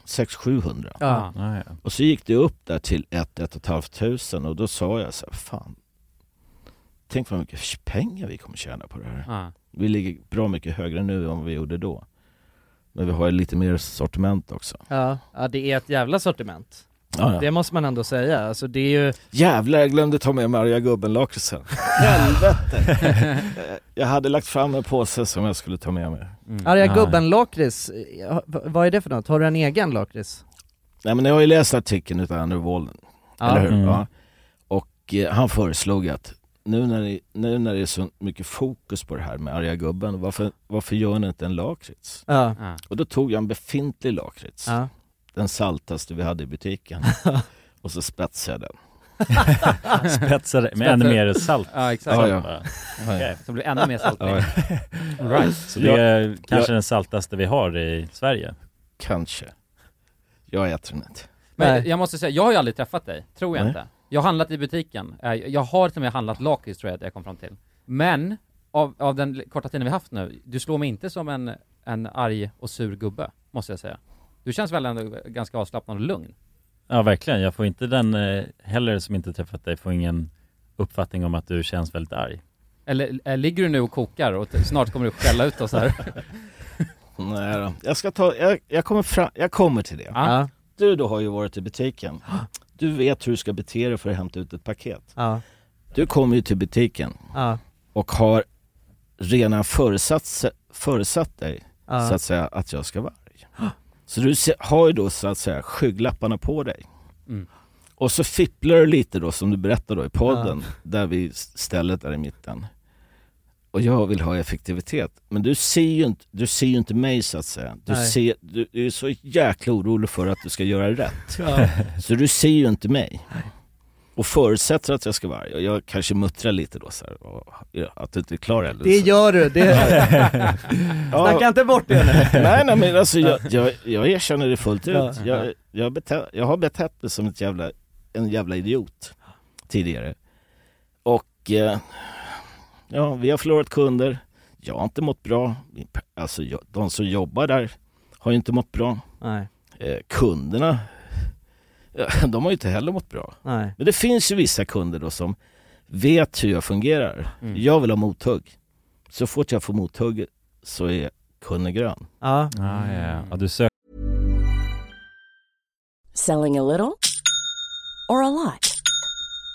[SPEAKER 7] 600-700.
[SPEAKER 1] Ja.
[SPEAKER 3] Ja, ja.
[SPEAKER 7] Och så gick det upp där till 1-1,5 tusen och då sa jag så här, fan. Tänk vad mycket pengar vi kommer tjäna på det här.
[SPEAKER 2] Ja.
[SPEAKER 7] Vi ligger bra mycket högre nu än vad vi gjorde då. Men vi har ju lite mer sortiment också.
[SPEAKER 1] Ja. ja, det är ett jävla sortiment.
[SPEAKER 7] Ja, ja.
[SPEAKER 1] Det måste man ändå säga, alltså det är ju,
[SPEAKER 7] Jävlar, jag glömde ta med mig arga <laughs> gubben-lakritsen. Helvete! <laughs> Eh, jag hade lagt fram en påse som jag skulle ta med mig.
[SPEAKER 2] Mm.
[SPEAKER 1] arga
[SPEAKER 3] Ja.
[SPEAKER 1] gubben lakrits, Ja, v- vad är det för något? Har du en egen lakrits?
[SPEAKER 7] Nej men jag har ju läst artikeln utav Andrew Wallen, eller hur?
[SPEAKER 3] Mm.
[SPEAKER 7] Ja. Och eh, han föreslog att nu när, det, nu när det är så mycket fokus på det här med arga gubben, varför, varför gör ni inte en lakrits?
[SPEAKER 1] Ja.
[SPEAKER 2] Ja.
[SPEAKER 7] Och då tog jag en befintlig lakrits,
[SPEAKER 1] Ja.
[SPEAKER 7] den saltaste vi hade i butiken, och så spetsade jag den.
[SPEAKER 3] Spetsar det med ännu mer salt.
[SPEAKER 2] ja, exakt.
[SPEAKER 7] Ja, ja.
[SPEAKER 3] Bara.
[SPEAKER 7] ja.
[SPEAKER 2] Som blir ännu mer saltning.
[SPEAKER 7] Ja,
[SPEAKER 2] All right.
[SPEAKER 3] Så det är kanske den saltaste vi har i Sverige.
[SPEAKER 7] Kanske. Jag äter den inte.
[SPEAKER 2] Men
[SPEAKER 1] Nej.
[SPEAKER 2] jag måste säga, jag har ju aldrig träffat dig, tror jag
[SPEAKER 7] Nej.
[SPEAKER 2] inte. Jag har handlat i butiken, Eh, jag har till och med handlat lakrits tror jag att jag kom fram till. Men, av, av den l- korta tiden vi haft nu, du slår mig inte som en, en arg och sur gubbe, måste jag säga. Du känns väl ändå ganska avslappnad och lugn?
[SPEAKER 3] Ja verkligen, jag får inte den eh, heller som inte träffat dig, får ingen uppfattning om att du känns väldigt arg.
[SPEAKER 2] Eller eh, ligger du nu och kokar och t- snart kommer du skälla ut oss här?
[SPEAKER 7] Nej då. Jag ska ta, jag, jag, kommer fram, jag kommer till det.
[SPEAKER 2] Ja.
[SPEAKER 1] Ja.
[SPEAKER 7] Du då har ju varit i butiken. Du vet hur du ska bete dig för att hämta ut ett paket.
[SPEAKER 1] Ja,
[SPEAKER 7] Du kommer ju till butiken
[SPEAKER 1] ja,
[SPEAKER 7] och har redan förutsatt, förutsatt dig så
[SPEAKER 1] ja,
[SPEAKER 7] att säga att jag ska vara arg. Så du se- har ju då så att säga skygglapparna på dig.
[SPEAKER 2] Mm.
[SPEAKER 7] Och så fipplar du lite då som du berättade då i podden, där vi stället är i mitten. Och jag vill ha effektivitet. Men du ser ju inte, du ser ju inte mig så att säga. Du,
[SPEAKER 1] Nej.
[SPEAKER 7] ser, du, du är så jäkla orolig för att du ska göra rätt.
[SPEAKER 1] ja,
[SPEAKER 7] <laughs> Så du ser ju inte mig. Och förutsätter att jag ska vara arg. Och jag kanske muttrar lite då så här, "Åh, ja, att du inte är klar heller.
[SPEAKER 1] det gör du, det,
[SPEAKER 7] Ja.
[SPEAKER 1] snacka inte bort det nu!
[SPEAKER 7] Nej nej men alltså jag, jag, jag erkänner det fullt
[SPEAKER 1] Ja.
[SPEAKER 7] ut. Jag, jag, bete, jag har betett mig som ett jävla, en jävla idiot tidigare. Och eh, ja, vi har förlorat kunder. Jag har inte mått bra. Min pe- Alltså jag, de som jobbar där har ju inte mått bra.
[SPEAKER 1] Nej,
[SPEAKER 7] Eh, kunderna, <laughs> ja, de har ju inte heller mått bra.
[SPEAKER 1] nej,
[SPEAKER 7] Men det finns ju vissa kunder då som vet hur jag fungerar.
[SPEAKER 2] Mm.
[SPEAKER 7] Jag vill ha mothugg. Så fort jag får mothugg så är kunden grön.
[SPEAKER 1] ja,
[SPEAKER 3] Ah, ja, ja. ja, du söker
[SPEAKER 8] Selling a little or a lot?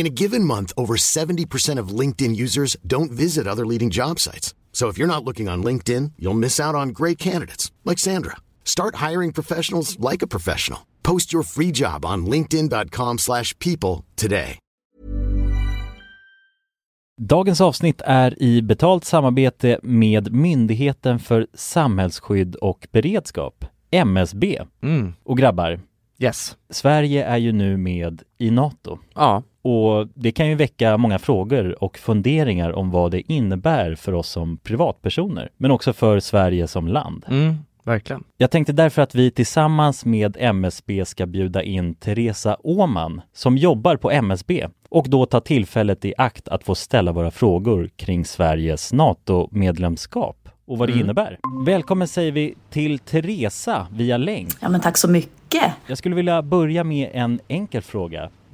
[SPEAKER 9] In a given month, over 70% of LinkedIn users don't visit other leading job sites. So if you're not looking on LinkedIn, you'll miss out on great candidates like Sandra. Start hiring professionals like a professional. Post your free job on linkedin.com/people slash people today.
[SPEAKER 3] Dagens avsnitt är i betalt samarbete med Myndigheten för samhällsskydd och beredskap, MSB.
[SPEAKER 1] Mm.
[SPEAKER 3] Och grabbar,
[SPEAKER 1] yes.
[SPEAKER 3] Sverige är ju nu med i NATO.
[SPEAKER 2] Ja.
[SPEAKER 3] Och det kan ju väcka många frågor och funderingar om vad det innebär för oss som privatpersoner, men också för Sverige som land.
[SPEAKER 1] Mm, verkligen.
[SPEAKER 3] Jag tänkte därför att vi tillsammans med MSB ska bjuda in Teresa Åman som jobbar på MSB och då ta tillfället i akt att få ställa våra frågor kring Sveriges NATO-medlemskap och vad det
[SPEAKER 10] Mm.
[SPEAKER 3] innebär. Välkommen säger vi till Teresa via länk.
[SPEAKER 10] Ja, men tack så mycket.
[SPEAKER 3] Jag skulle vilja börja med en enkel fråga.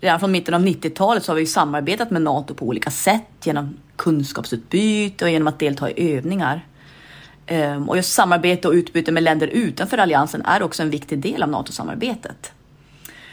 [SPEAKER 10] Redan från mitten av 90-talet så har vi ju samarbetat med NATO på olika sätt genom kunskapsutbyte och genom att delta i övningar. Ehm, Och just samarbete och utbyte med länder utanför alliansen är också en viktig del av NATO-samarbetet.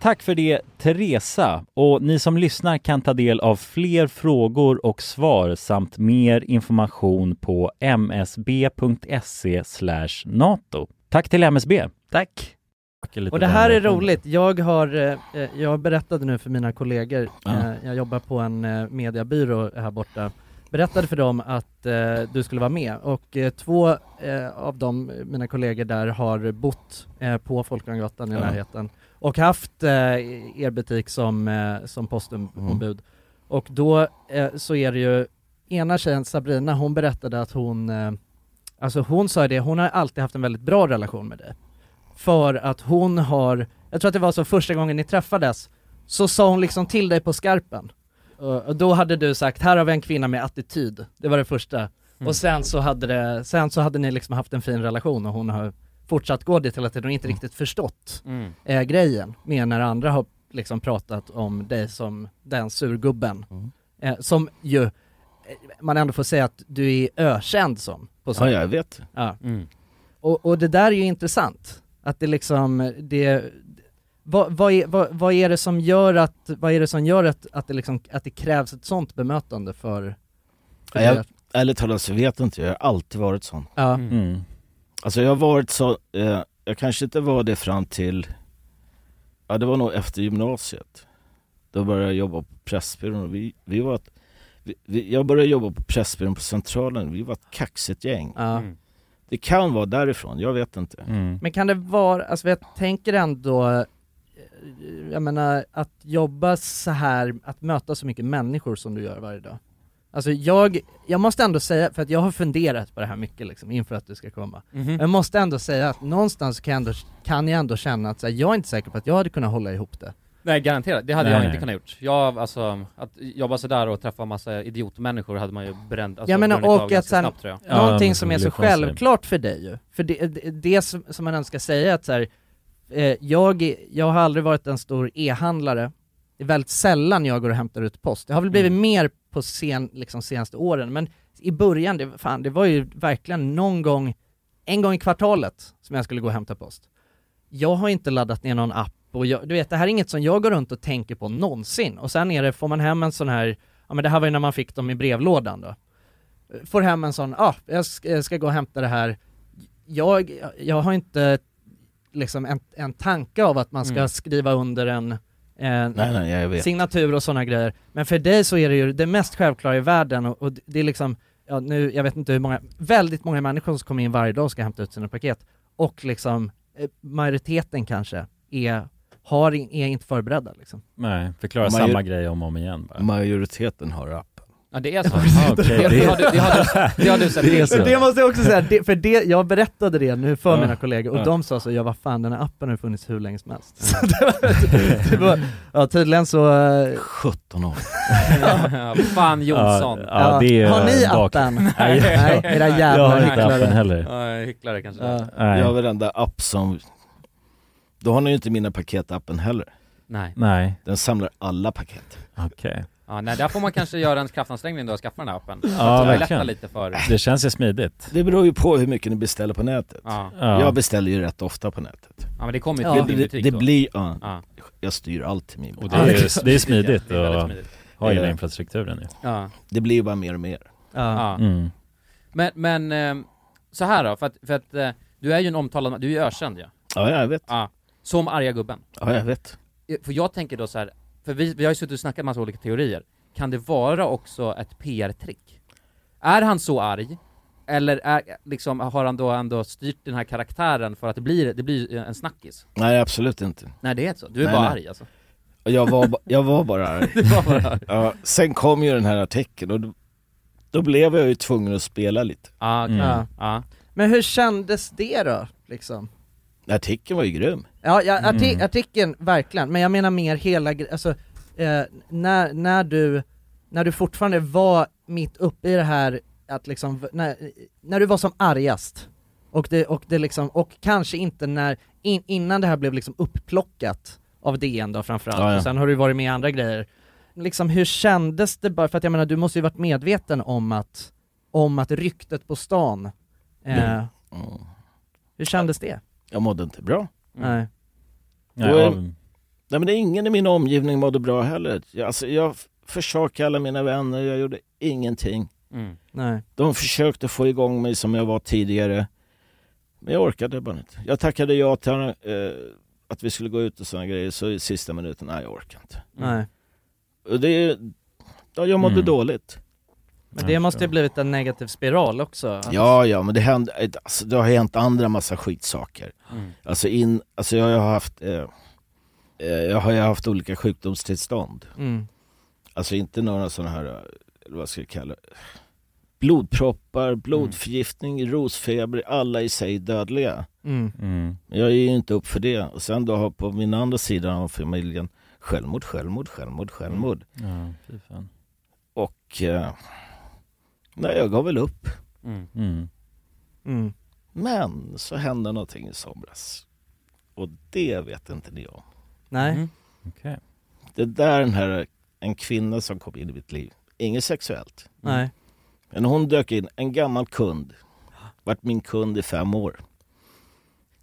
[SPEAKER 3] Tack för det, Teresa. Och ni som lyssnar kan ta del av fler frågor och svar samt mer information på msb.se E nato. Tack till MSB.
[SPEAKER 1] Tack. Och det här är roligt, jag har, eh, jag berättade nu för mina kollegor,
[SPEAKER 3] Ja.
[SPEAKER 1] eh, jag jobbar på en eh, mediebyrå här borta, berättade för dem att eh, du skulle vara med och eh, två eh, av dem, eh, mina kollegor där, har bott eh, på Folkungagatan i
[SPEAKER 2] Ja.
[SPEAKER 1] närheten och haft eh, er butik som, eh, som postombud. Och då eh, så är det ju, ena tjejen Sabrina, hon berättade att hon, eh, alltså hon sa det, hon har alltid haft en väldigt bra relation med dig. För att hon har, jag tror att det var så första gången ni träffades, så sa hon liksom till dig på skarpen. Eh, Och och då hade du sagt, här har vi en kvinna med attityd, det var det första.
[SPEAKER 2] Mm.
[SPEAKER 1] Och sen så, hade det, sen så hade ni liksom haft en fin relation och hon har fortsatt gå dit hela tiden och inte riktigt förstått
[SPEAKER 2] Mm.
[SPEAKER 1] eh, grejen med när andra har liksom pratat om dig som den surgubben.
[SPEAKER 7] Mm.
[SPEAKER 1] Eh, som ju, eh, man ändå får säga att du är ökänd som. På
[SPEAKER 7] Ja,
[SPEAKER 1] Söder.
[SPEAKER 7] jag vet. Mm.
[SPEAKER 1] Ja. Och, och det där är ju intressant, att det liksom, det, vad, vad, är, vad, vad är det som gör att, vad är det som gör att, att, det, liksom, att det krävs ett sånt bemötande för, för
[SPEAKER 7] Nej,
[SPEAKER 1] det?
[SPEAKER 7] jag, ärligt talat så vet jag inte, jag har alltid varit sån.
[SPEAKER 1] Ja.
[SPEAKER 3] Mm.
[SPEAKER 7] Alltså jag har varit så, eh, jag kanske inte var det fram till, ja det var nog efter gymnasiet. Då började jag jobba på Pressbyrån och vi, vi var ett, vi, vi, jag började jobba på Pressbyrån på Centralen, vi var ett kaxigt gäng.
[SPEAKER 1] Ja. Mm.
[SPEAKER 7] Det kan vara därifrån, jag vet inte.
[SPEAKER 1] Men kan det vara, alltså jag tänker ändå, eh, jag menar att jobba så här, att möta så mycket människor som du gör varje dag. Alltså jag, jag måste ändå säga, för att jag har funderat på det här mycket liksom inför att du ska komma.
[SPEAKER 2] Mhm.
[SPEAKER 1] Jag måste ändå säga att någonstans kan jag ändå, kan jag ändå känna att så här, jag är inte säker på att jag hade kunnat hålla ihop det.
[SPEAKER 2] Nej garanterat, det hade
[SPEAKER 1] Nej,
[SPEAKER 2] jag
[SPEAKER 1] nej.
[SPEAKER 2] inte kunnat gjort. Jag, alltså, att jobba sådär och träffa massa idiotmänniskor hade man ju bränt, alltså,
[SPEAKER 1] jag menar
[SPEAKER 2] brunnit av
[SPEAKER 1] och att
[SPEAKER 2] ganska
[SPEAKER 1] sen,
[SPEAKER 2] snabbt, tror jag.
[SPEAKER 1] någonting som är så självklart för dig ju, för det, det, det som som man ändå ska säga är att så här, eh, jag, är- jag har aldrig varit en stor e-handlare, det är väldigt sällan jag går och hämtar ut post. Det har väl blivit
[SPEAKER 7] Mm.
[SPEAKER 1] mer på sen, liksom senaste åren, men i början, det, fan, det var ju verkligen någon gång, en gång i kvartalet som jag skulle gå och hämta post. Jag har inte laddat ner någon app och jag, du vet, det här är inget som jag går runt och tänker på någonsin. Och sen är det, får man hem en sån här, ja men det här var ju när man fick dem i brevlådan då får hem en sån, ja, ah, jag ska, jag ska gå och hämta det här. Jag, jag har inte liksom en, en tanke av att man ska
[SPEAKER 7] Mm.
[SPEAKER 1] skriva under en, en
[SPEAKER 7] Nej, nej, jag vet.
[SPEAKER 1] signatur och sådana grejer. Men för dig så är det ju det mest självklara i världen och, och det är liksom, ja, nu, jag vet inte hur många, väldigt många människor som kommer in varje dag och ska hämta ut sina paket och liksom eh, majoriteten kanske är, har, in- är inte förberedda liksom.
[SPEAKER 3] Nej, förklara
[SPEAKER 7] Major-
[SPEAKER 3] samma grej om och om igen bara.
[SPEAKER 7] Majoriteten har app.
[SPEAKER 2] Ja det är så.
[SPEAKER 3] Ja, okej.
[SPEAKER 2] det, det, har du, det, har du, det har du sett till.
[SPEAKER 1] Men det måste jag också säga, det, för det, jag berättade det nu för
[SPEAKER 2] Ja.
[SPEAKER 1] mina kollegor och
[SPEAKER 2] Ja.
[SPEAKER 1] de sa så, ja vad fan den här appen har ju funnits hur länge som helst. <laughs> Så det var, det var, ja tydligen så... eh,
[SPEAKER 7] 17 år.
[SPEAKER 2] Ja, fan Jonsson.
[SPEAKER 3] Ja, ja, det är ju
[SPEAKER 1] har ni
[SPEAKER 3] bak-
[SPEAKER 1] appen?
[SPEAKER 3] <laughs> Nej,
[SPEAKER 1] era
[SPEAKER 3] jag
[SPEAKER 1] jävla
[SPEAKER 3] har inte
[SPEAKER 1] hycklare.
[SPEAKER 3] appen heller.
[SPEAKER 2] Ja, hycklare kanske.
[SPEAKER 1] Ja.
[SPEAKER 3] Nej.
[SPEAKER 7] Jag har varenda app som... Då har ni ju inte mina paketappen heller.
[SPEAKER 2] Nej.
[SPEAKER 3] Nej.
[SPEAKER 7] Den samlar alla paket.
[SPEAKER 3] Okej.
[SPEAKER 2] Ja, nej, där får man kanske göra en kraftansträngning då och skaffa den här appen. Så
[SPEAKER 3] Ja,
[SPEAKER 2] att det lättar
[SPEAKER 3] verkligen.
[SPEAKER 2] lite för...
[SPEAKER 3] Det känns ju smidigt.
[SPEAKER 7] Det beror ju på hur mycket ni beställer på nätet.
[SPEAKER 2] Ja.
[SPEAKER 3] Ja.
[SPEAKER 7] Jag beställer ju rätt ofta på nätet.
[SPEAKER 2] Ja, men det kommer ju till din
[SPEAKER 7] det,
[SPEAKER 2] butik
[SPEAKER 7] det
[SPEAKER 2] då.
[SPEAKER 7] blir, ja.
[SPEAKER 2] Ja.
[SPEAKER 7] Jag styr allt till min
[SPEAKER 3] Och
[SPEAKER 7] butik.
[SPEAKER 3] det är ju det är smidigt
[SPEAKER 2] Det är väldigt
[SPEAKER 3] och
[SPEAKER 2] smidigt.
[SPEAKER 3] ha hela
[SPEAKER 7] Eh,
[SPEAKER 3] infrastrukturen ju.
[SPEAKER 2] Ja.
[SPEAKER 7] Det blir ju bara mer och mer.
[SPEAKER 2] Ja.
[SPEAKER 3] Mm.
[SPEAKER 2] Men, men ehm, så här då, för att, för att eh, du är ju en omtalad, du är ju ökänd ja.
[SPEAKER 7] Ja, jag vet.
[SPEAKER 2] Ja. Som arga gubben.
[SPEAKER 7] Ja, jag vet.
[SPEAKER 2] Eh, För jag tänker då så här, för vi, vi har ju suttit och snackat massa olika teorier. Kan det vara också ett PR-trick? Är han så arg? Eller är, liksom, har han då ändå styrt den här karaktären för att det blir, det blir en snackis?
[SPEAKER 7] Nej, absolut inte.
[SPEAKER 2] Nej det är inte så, du är
[SPEAKER 7] Nej,
[SPEAKER 2] bara
[SPEAKER 7] nej.
[SPEAKER 2] arg alltså.
[SPEAKER 7] Och Jag var, ba- jag var bara arg.
[SPEAKER 2] var bara arg.
[SPEAKER 7] ja, sen kom ju den här artikeln och då, då blev jag ju tvungen att spela lite.
[SPEAKER 2] Ah,
[SPEAKER 7] okej.
[SPEAKER 1] Ja. Men hur kändes det då, liksom?
[SPEAKER 7] Artikeln var ju grym.
[SPEAKER 1] Ja, ja arti-
[SPEAKER 7] Mm.
[SPEAKER 1] artikeln, verkligen, men jag menar mer hela gre- alltså, eh, när, när, du, när du fortfarande var mitt uppe i det här, att liksom, v- när, när du var som argast, och, det, och, det liksom, och kanske inte när, in, innan det här blev liksom upplockat av DN då framförallt,
[SPEAKER 2] Ja, ja.
[SPEAKER 1] och sen har du varit med i andra grejer, liksom hur kändes det bara, för att jag menar du måste ju varit medveten om att, om att ryktet på stan, eh,
[SPEAKER 7] Mm.
[SPEAKER 1] hur kändes det?
[SPEAKER 7] Jag mådde inte bra.
[SPEAKER 1] Nej.
[SPEAKER 7] Och,
[SPEAKER 1] Nej, ja.
[SPEAKER 7] eh, nej men det är ingen i min omgivning mådde bra heller. Jag, alltså, jag f- försökte alla mina vänner, jag gjorde ingenting.
[SPEAKER 2] Mm.
[SPEAKER 1] Nej.
[SPEAKER 7] De försökte få igång mig som jag var tidigare. Men jag orkade bara inte. Jag tackade ja till eh, att vi skulle gå ut och sådana grejer, så i sista minuten, nej jag orkar inte.
[SPEAKER 1] Nej.
[SPEAKER 7] Och det, är- ja, jag mådde
[SPEAKER 1] Mm.
[SPEAKER 7] dåligt.
[SPEAKER 1] Men det måste ju blivit en negativ spiral också. att-
[SPEAKER 7] Ja, ja, men det, hände, eh, alltså, det har hänt andra massa skitsaker.
[SPEAKER 1] Mm.
[SPEAKER 7] Alltså, in, alltså jag har ju haft, eh, eh, jag har ju haft olika sjukdomstillstånd.
[SPEAKER 1] Mm.
[SPEAKER 7] Alltså inte några sådana här, eh, eller vad ska jag kalla det? blodproppar, blodförgiftning, rosfeber, alla i sig dödliga.
[SPEAKER 1] Mm.
[SPEAKER 7] Men jag är ju inte upp för det. Och sen då har på min andra sida av familjen självmord, självmord, självmord, självmord.
[SPEAKER 3] Mm. Ja, fy fan.
[SPEAKER 7] Och eh, nej, jag gav väl upp.
[SPEAKER 3] Mm.
[SPEAKER 1] Mm.
[SPEAKER 7] Men så hände någonting i somras. Och det vet inte ni om.
[SPEAKER 1] Nej.
[SPEAKER 3] Okej.
[SPEAKER 7] Det där den här, en kvinna som kom in i mitt liv. Inget sexuellt.
[SPEAKER 1] Nej.
[SPEAKER 7] Men hon dök in, en gammal kund. Vart min kund i fem år.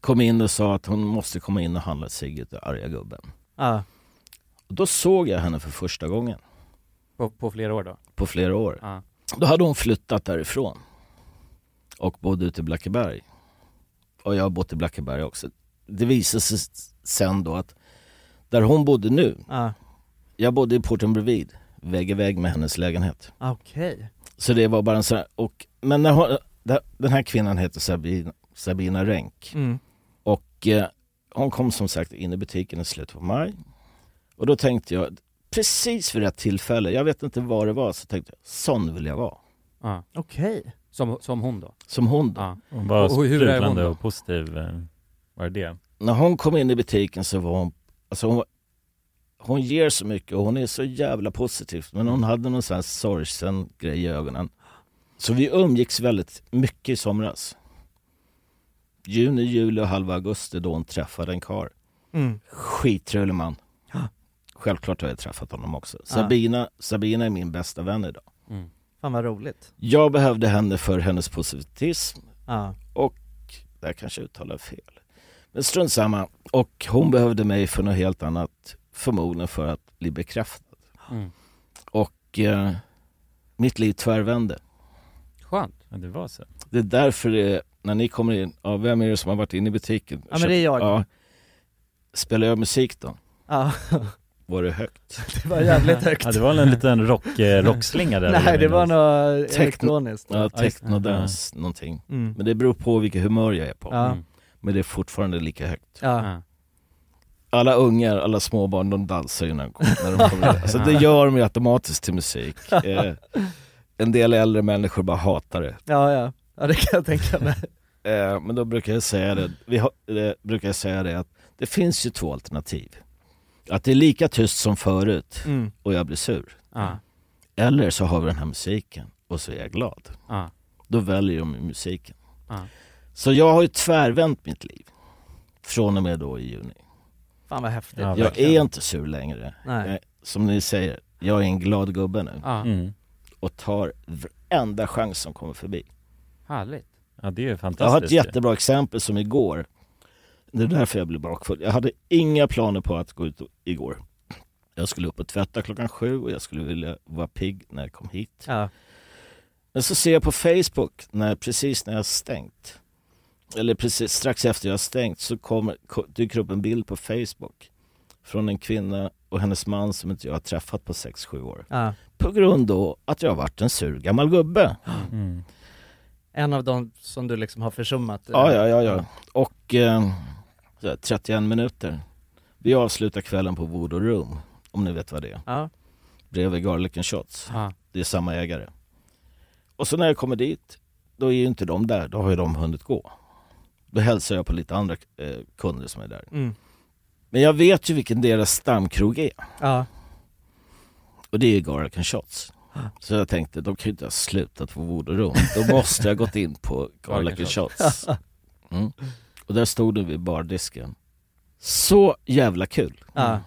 [SPEAKER 7] Kom in och sa att hon måste komma in och handla cigget och arga gubben.
[SPEAKER 1] Ja.
[SPEAKER 7] Och då såg jag henne för första gången
[SPEAKER 2] På, på flera år då?
[SPEAKER 7] på flera år.
[SPEAKER 2] Ja.
[SPEAKER 7] Då hade hon flyttat därifrån och bodde ute i Blackeberg. Och jag har bott i Blackeberg också. Det visade sig s- sen då att där hon bodde nu,
[SPEAKER 1] Ja.
[SPEAKER 7] jag bodde i porten bredvid, vägg i vägg med hennes lägenhet.
[SPEAKER 1] ah, Okej.
[SPEAKER 7] Så det var bara en sån här, och, men när hon, där- den här kvinnan heter Sabina, Sabina Renk.
[SPEAKER 1] Mm.
[SPEAKER 7] Och eh, hon kom som sagt in i butiken i slutet på maj. Och då tänkte jag, precis vid rätt tillfälle, jag vet inte vad det var, så tänkte jag, sån vill jag vara.
[SPEAKER 2] Ja.
[SPEAKER 1] Okej.
[SPEAKER 2] Som, som hon då?
[SPEAKER 7] Som hon då.
[SPEAKER 2] Ja.
[SPEAKER 7] Hon
[SPEAKER 3] Bara
[SPEAKER 7] Och hur är hon
[SPEAKER 3] sprudlande
[SPEAKER 7] då?
[SPEAKER 3] och positiv, eh, var det det?
[SPEAKER 7] När hon kom in i butiken så var hon, alltså hon, var- hon ger så mycket och hon är så jävla positiv. Men hon hade någon sån här sorgsen grej i ögonen. Så vi umgicks väldigt mycket i somras. Juni, juli och halva augusti då hon träffade en karl.
[SPEAKER 1] Mm.
[SPEAKER 7] Skitrolig man. Självklart har jag träffat honom också.
[SPEAKER 1] Ja.
[SPEAKER 7] Sabina, Sabina är min bästa vän idag.
[SPEAKER 1] Fan vad roligt. Ah.
[SPEAKER 7] Jag behövde henne för hennes positivism
[SPEAKER 1] Ja.
[SPEAKER 7] och, där kanske jag uttalar fel, men strunt samma. Och hon behövde mig för något helt annat, förmodligen för att bli bekräftad.
[SPEAKER 2] Mm.
[SPEAKER 7] Och eh, mitt liv tvärvände.
[SPEAKER 2] Skönt.
[SPEAKER 3] Ja, det var så.
[SPEAKER 7] Det är därför det, när ni kommer in, ja, vem är det som har varit inne i butiken?
[SPEAKER 1] Ja, men det är jag. Ah.
[SPEAKER 7] Spelar jag musik då?
[SPEAKER 1] Ja.
[SPEAKER 7] Var det högt?
[SPEAKER 1] <laughs> Det var jävligt högt.
[SPEAKER 3] <laughs> Ja, det var en liten rock, <laughs> eh, rockslinga där.
[SPEAKER 1] Nej, det var något
[SPEAKER 7] Techno-
[SPEAKER 1] elektroniskt.
[SPEAKER 7] Ja, technodans,
[SPEAKER 1] Ja.
[SPEAKER 7] någonting.
[SPEAKER 1] Mm.
[SPEAKER 7] Men det beror på vilket humör jag är på.
[SPEAKER 1] Ja. Mm.
[SPEAKER 7] Men det är fortfarande lika högt.
[SPEAKER 1] Ja.
[SPEAKER 7] Alla ungar, alla småbarn, de dansar ju när de när de kommer in. Alltså det gör de ju automatiskt till musik. Eh, en del äldre människor bara hatar det.
[SPEAKER 1] Ja, ja. Ja, det kan jag tänka mig.
[SPEAKER 7] Eh, men då brukar jag säga det, vi har, eh, brukar jag säga det att det finns ju två alternativ. Att det är lika tyst som förut
[SPEAKER 1] <laughs> Mm.
[SPEAKER 7] och jag blir sur.
[SPEAKER 1] Ah.
[SPEAKER 2] Ja.
[SPEAKER 7] Eller så har vi den här musiken och så är jag glad.
[SPEAKER 2] Ja.
[SPEAKER 7] Då väljer de ju musiken.
[SPEAKER 2] Ja.
[SPEAKER 7] Så jag har ju tvärvänt mitt liv. Från och med då i juni.
[SPEAKER 1] Fan vad häftigt.
[SPEAKER 7] jag är inte sur längre.
[SPEAKER 1] Nej.
[SPEAKER 7] Jag, Eh, som ni säger, jag är en glad gubbe nu.
[SPEAKER 2] Ja. Mm.
[SPEAKER 7] Och tar varenda chans som kommer förbi.
[SPEAKER 2] Härligt.
[SPEAKER 3] Ja, det är ju
[SPEAKER 7] Jag har ett
[SPEAKER 3] fantastiskt.
[SPEAKER 7] jättebra exempel som igår. Det är därför jag blev bakfull. Jag hade inga planer på att gå ut igår. Jag skulle upp och tvätta klockan sju och jag skulle vilja vara pigg när jag kom hit. Men så ser jag på Facebook, när, precis när jag har stängt, eller precis strax efter jag har stängt, så kommer, ko- dyker upp en bild på Facebook från en kvinna och hennes man som inte jag har träffat på 6-7 år.
[SPEAKER 1] Ja.
[SPEAKER 7] På grund då att jag har varit en sur gammal gubbe.
[SPEAKER 1] En av de som du liksom har försummat.
[SPEAKER 7] Ja, ja, ja, ja. Och eh, så här, 31 minuter. Vi avslutar kvällen på Voodoo Room, om ni vet vad det är.
[SPEAKER 1] Ja.
[SPEAKER 7] Bredvid Garlic and Shots.
[SPEAKER 2] Ja.
[SPEAKER 7] Det är samma ägare. Och så när jag kommer dit, då är ju inte de där, då har ju de hunnit gå. Då hälsar jag på lite andra eh, kunder som är där.
[SPEAKER 1] Mm.
[SPEAKER 7] Men jag vet ju vilken deras stamkrog är.
[SPEAKER 1] Ja.
[SPEAKER 7] Och det är ju Garlic and Shots. Så jag tänkte, de kan ju inte ha slutat på Voodoo Room. Då måste jag gått in på Garlic and Shots. Mm. Och där stod du vid bardisken. Så jävla kul! Mm.
[SPEAKER 1] Ja.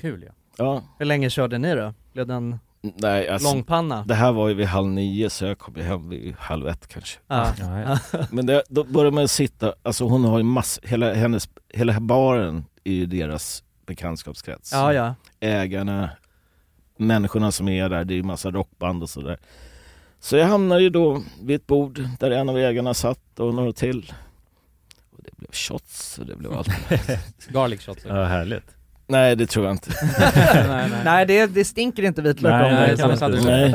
[SPEAKER 2] Kul ja.
[SPEAKER 7] Ja.
[SPEAKER 1] Hur länge körde ni då? Blev den
[SPEAKER 7] Nej, alltså,
[SPEAKER 1] långpanna?
[SPEAKER 7] Det här var ju vid halv nio så jag kom ju hem vid halv ett kanske.
[SPEAKER 1] Ja.
[SPEAKER 3] Ja,
[SPEAKER 7] Men det, då började man sitta, alltså hon har ju mass, hela hennes, hela baren är ju deras bekantskapskrets.
[SPEAKER 1] Ja, ja.
[SPEAKER 7] Ägarna, människorna som är där, det är ju massa rockband och sådär. Så jag hamnade ju då vid ett bord där en av ägarna satt och några till. Och det blev shots och det blev allt.
[SPEAKER 2] Garlic shots.
[SPEAKER 7] Uh.
[SPEAKER 3] Ja, härligt.
[SPEAKER 7] Nej det tror jag inte.
[SPEAKER 1] nej, det, det stinker inte vitlök om det.
[SPEAKER 7] sant. Nej.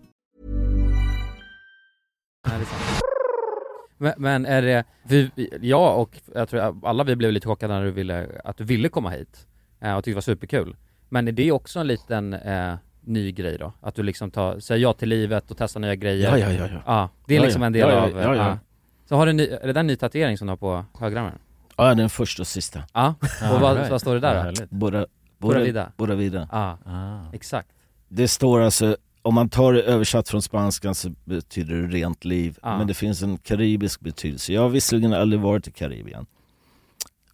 [SPEAKER 2] Men, men är det, vi, vi- jag och jag tror alla vi blev lite chockade när du ville, att du ville komma hit eh, och tyckte det var superkul. Men är det också en liten eh, ny grej då? Att du liksom tar, säger ja till livet och testar nya
[SPEAKER 7] Ja,
[SPEAKER 2] grejer?
[SPEAKER 7] ja, ja, ja.
[SPEAKER 2] det är
[SPEAKER 7] Ja,
[SPEAKER 2] liksom
[SPEAKER 7] ja.
[SPEAKER 2] en del
[SPEAKER 7] Ja, ja,
[SPEAKER 2] av...
[SPEAKER 7] ja, ja.
[SPEAKER 2] ah. Så har du en ny, är det där en ny tatuering som du har på högerarmen?
[SPEAKER 7] Ja, den första och sista.
[SPEAKER 2] Ja, och vad, vad står det där då?
[SPEAKER 7] Bora,
[SPEAKER 2] Bora
[SPEAKER 7] Bora
[SPEAKER 2] Vida.
[SPEAKER 7] Vida. Bora Vida.
[SPEAKER 2] Ja,
[SPEAKER 7] Ah.
[SPEAKER 2] exakt.
[SPEAKER 7] Det står alltså, om man tar det översatt från spanskan så betyder det rent liv,
[SPEAKER 2] Ja.
[SPEAKER 7] men det finns en karibisk betydelse. Jag har visserligen aldrig varit i Karibien.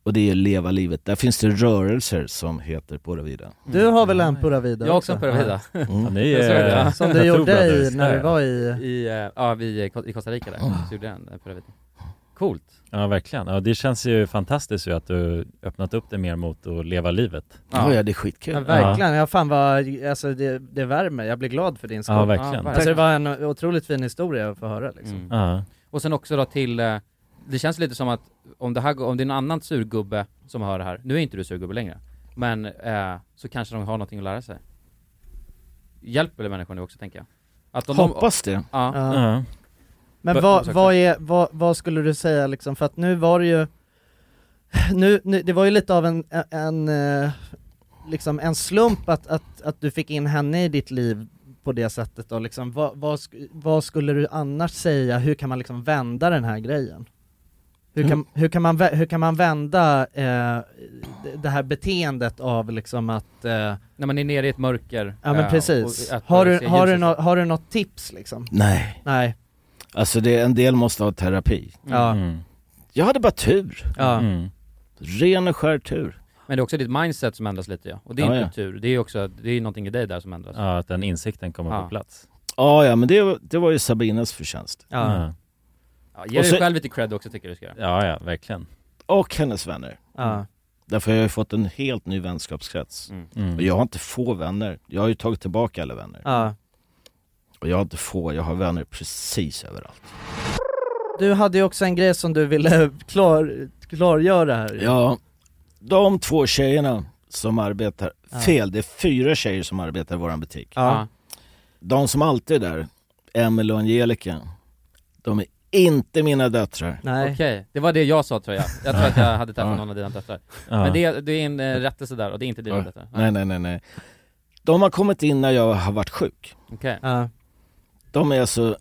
[SPEAKER 7] Och det är leva livet. Där finns det rörelser som heter Bora Vida.
[SPEAKER 3] Mm.
[SPEAKER 1] Du har väl en Pura Vida
[SPEAKER 2] Jag har också en Pura
[SPEAKER 7] <laughs>
[SPEAKER 2] Vida.
[SPEAKER 7] Mm.
[SPEAKER 1] ni är-
[SPEAKER 3] <laughs>
[SPEAKER 1] Som du gjorde i- när du var i-
[SPEAKER 2] i eh, ja, vi, i Ko- i Costa Rica där,
[SPEAKER 7] Oh.
[SPEAKER 2] så gjorde jag en eh, Pura Vida. Coolt.
[SPEAKER 3] Ja, verkligen. Ja, det känns ju fantastiskt ju att du öppnat upp dig mer mot att leva livet.
[SPEAKER 7] Ja, ja, det är skitkul.
[SPEAKER 1] Ja, verkligen, jag fan vad, alltså det, det värmer, jag blir glad för din skull.
[SPEAKER 3] Ja, verkligen. Ja,
[SPEAKER 1] Alltså det var en otroligt fin historia att få höra liksom.
[SPEAKER 2] Mm.
[SPEAKER 7] Mm.
[SPEAKER 3] Ja.
[SPEAKER 2] Och sen också då till, eh, det känns lite som att om det, här, går- om det är någon annan surgubbe som hör det här, nu är inte du surgubbe längre, men eh, så kanske de har någonting att lära sig. Hjälper väl människor nu också tänker jag? Att
[SPEAKER 7] Hoppas det.
[SPEAKER 2] Ja.
[SPEAKER 1] Ja. Men
[SPEAKER 2] Bör-
[SPEAKER 1] vad,
[SPEAKER 2] ursäkta.
[SPEAKER 1] vad, är, vad, vad skulle du säga liksom, för att nu var det ju, nu, nu, det var ju lite av en, en, eh, liksom en slump att, att, att du fick in henne i ditt liv på det sättet då, liksom, vad, vad, sk- vad skulle du annars säga, hur kan man liksom vända den här grejen? Hur
[SPEAKER 2] Mm.
[SPEAKER 1] kan, hur kan, man, vä- hur kan man vända eh, det- det här beteendet av liksom att... Eh,
[SPEAKER 2] När man är nere i ett mörker.
[SPEAKER 1] ja men
[SPEAKER 2] eh,
[SPEAKER 1] precis.
[SPEAKER 2] och att
[SPEAKER 1] Har
[SPEAKER 2] börja
[SPEAKER 1] du,
[SPEAKER 2] se
[SPEAKER 1] har, du
[SPEAKER 2] ljuset.
[SPEAKER 1] nå har du något tips liksom?
[SPEAKER 7] Nej.
[SPEAKER 1] Nej.
[SPEAKER 7] Alltså det, en del måste ha terapi.
[SPEAKER 2] Mm.
[SPEAKER 1] Ja.
[SPEAKER 7] Jag hade bara tur.
[SPEAKER 1] Ja.
[SPEAKER 7] Ren och skär tur.
[SPEAKER 2] Men det är också ditt mindset som ändras lite ja, och din
[SPEAKER 7] Ja, ja.
[SPEAKER 2] kultur, det är ju också, det är ju någonting i dig där som ändras.
[SPEAKER 3] Ja, att den insikten kommer på plats.
[SPEAKER 7] Ja, ja, men det, det var ju Sabinas förtjänst.
[SPEAKER 3] Ja.
[SPEAKER 2] Ja, ge
[SPEAKER 7] Och
[SPEAKER 2] dig
[SPEAKER 7] så-
[SPEAKER 2] själv lite cred också tycker jag du ska göra.
[SPEAKER 3] Ja, ja, verkligen.
[SPEAKER 7] Och hennes vänner.
[SPEAKER 1] Ja.
[SPEAKER 7] Därför har jag ju fått en helt ny vänskapskrets.
[SPEAKER 3] Mm.
[SPEAKER 7] Och jag har inte få vänner. Jag har ju tagit tillbaka alla vänner.
[SPEAKER 1] Ja.
[SPEAKER 7] Och jag har inte få, jag har vänner precis överallt.
[SPEAKER 1] Du hade ju också en grej som du ville <laughs> klar, klargöra här
[SPEAKER 7] Ja, de två tjejerna som arbetar,
[SPEAKER 1] Ja.
[SPEAKER 7] fel, det är fyra tjejer som arbetar i våran butik.
[SPEAKER 1] Ja.
[SPEAKER 7] De som alltid är där, Emelie och Angelica, de är inte mina döttrar.
[SPEAKER 1] Nej.
[SPEAKER 2] Okej, det var det jag sa tror jag. Jag tror att jag hade träffat någon av dina döttrar.
[SPEAKER 7] Ja.
[SPEAKER 2] Men det, det är en eh, rättelse där och det är inte dina
[SPEAKER 7] Ja.
[SPEAKER 2] döttrar.
[SPEAKER 7] Nej, nej, nej, nej. De har kommit in när jag har varit sjuk.
[SPEAKER 2] Okej.
[SPEAKER 7] De är alltså,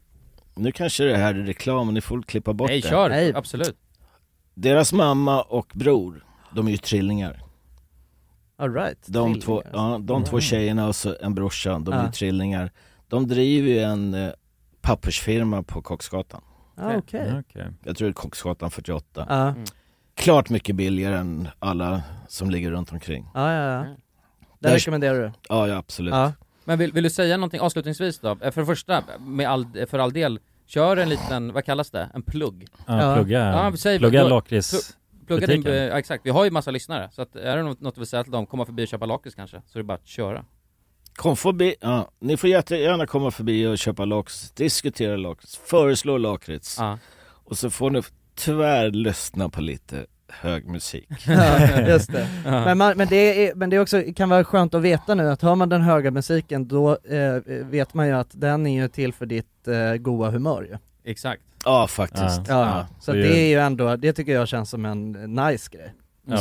[SPEAKER 7] nu kanske det här är reklam, ni får klippa bort
[SPEAKER 2] Nej
[SPEAKER 7] det.
[SPEAKER 2] kör, absolut.
[SPEAKER 7] Deras mamma och bror, de är ju trillingar.
[SPEAKER 1] All right.
[SPEAKER 7] De, två, ja, de två
[SPEAKER 1] Mm.
[SPEAKER 7] tjejerna och så en brorsa, de är
[SPEAKER 1] Ja.
[SPEAKER 7] ju trillingar. De driver ju en eh, pappersfirma på Koksgatan.
[SPEAKER 1] Ah, okej.
[SPEAKER 7] Jag tror det är Koksgatan 48.
[SPEAKER 1] Ja. Mm.
[SPEAKER 7] Klart mycket billigare än alla som ligger runt omkring.
[SPEAKER 1] Ja, ja, ja. Det
[SPEAKER 7] Där-
[SPEAKER 1] rekommenderar du?
[SPEAKER 7] Ja, ja absolut. <laughs>
[SPEAKER 2] Men vill, vill du säga någonting avslutningsvis då? Eh, För det första, med all, eh, för all del, kör en liten, vad kallas det? En plugg?
[SPEAKER 3] Ja, plugga-
[SPEAKER 2] säg-
[SPEAKER 3] plugga
[SPEAKER 2] pl-
[SPEAKER 3] lakrits-
[SPEAKER 2] pl- Plugga din,
[SPEAKER 3] butiken.
[SPEAKER 2] ja, exakt, vi har ju massa lyssnare, så att, är det något, något du vill säga till dem, komma förbi och köpa lakrits kanske, så är det bara att köra.
[SPEAKER 7] Kom förbi, ja, ni får jättegärna komma förbi och köpa lakrits, diskutera lakrits, föreslå lakrits. Och så får ni tyvärr lyssna på lite hög musik.
[SPEAKER 1] Ja, just det. Men, man, men det, är, men det är också, kan vara skönt att veta nu att hör man den höga musiken då eh, vet man ju att den är ju till för ditt eh, goa humör ju.
[SPEAKER 2] Exakt.
[SPEAKER 7] Ja, faktiskt.
[SPEAKER 1] Ja, så
[SPEAKER 7] Det
[SPEAKER 1] det
[SPEAKER 7] är
[SPEAKER 1] är,
[SPEAKER 7] ju-
[SPEAKER 1] ju ändå, det tycker jag känns som en eh, nice grej.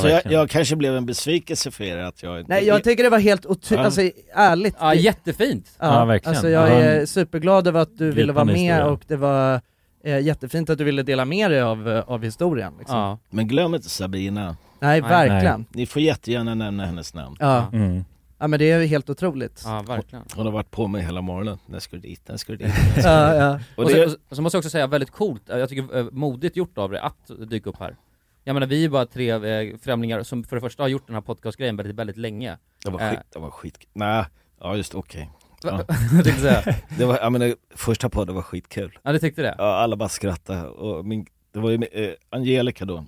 [SPEAKER 7] så jag, jag kanske blev en besvikelse för er att jag inte...
[SPEAKER 1] Nej jag tycker det var helt otroligt,
[SPEAKER 7] Ja.
[SPEAKER 1] alltså ärligt.
[SPEAKER 2] Ja, jättefint.
[SPEAKER 1] Ja,
[SPEAKER 7] Ja, verkligen.
[SPEAKER 1] Alltså jag
[SPEAKER 7] Ja.
[SPEAKER 1] är superglad över att du ville vara
[SPEAKER 7] Gripande
[SPEAKER 1] med
[SPEAKER 7] historia.
[SPEAKER 1] och det var eh, jättefint att du ville dela med dig av, eh, av historien liksom.
[SPEAKER 7] Men glöm inte Sabina.
[SPEAKER 1] Nej, Nej. verkligen. Nej.
[SPEAKER 7] Ni får jättegärna nämna hennes namn.
[SPEAKER 1] Ja.
[SPEAKER 11] Mm.
[SPEAKER 1] ja men det är ju helt otroligt.
[SPEAKER 2] Ja, verkligen.
[SPEAKER 7] Hon har varit på mig hela morgonen. När ska du dit? När ska du dit?
[SPEAKER 1] Ja, ja.
[SPEAKER 2] <laughs> Och, så, och så måste jag också säga, väldigt coolt, eh, jag tycker eh, modigt gjort av dig att dyka upp här. Jag menar vi är bara tre eh, främlingar som för det första har gjort den här podcastgrejen väldigt, väldigt länge.
[SPEAKER 7] Det var
[SPEAKER 2] Eh,
[SPEAKER 7] skit, det var skit, nej, ja just okej
[SPEAKER 2] Va-
[SPEAKER 7] ja.
[SPEAKER 2] Jag tänkte säga.
[SPEAKER 7] Det var, jag menar, första podden var skitkul
[SPEAKER 2] Ja du tyckte det?
[SPEAKER 7] Ja alla bara skrattade och min, det var ju eh, Angelica då,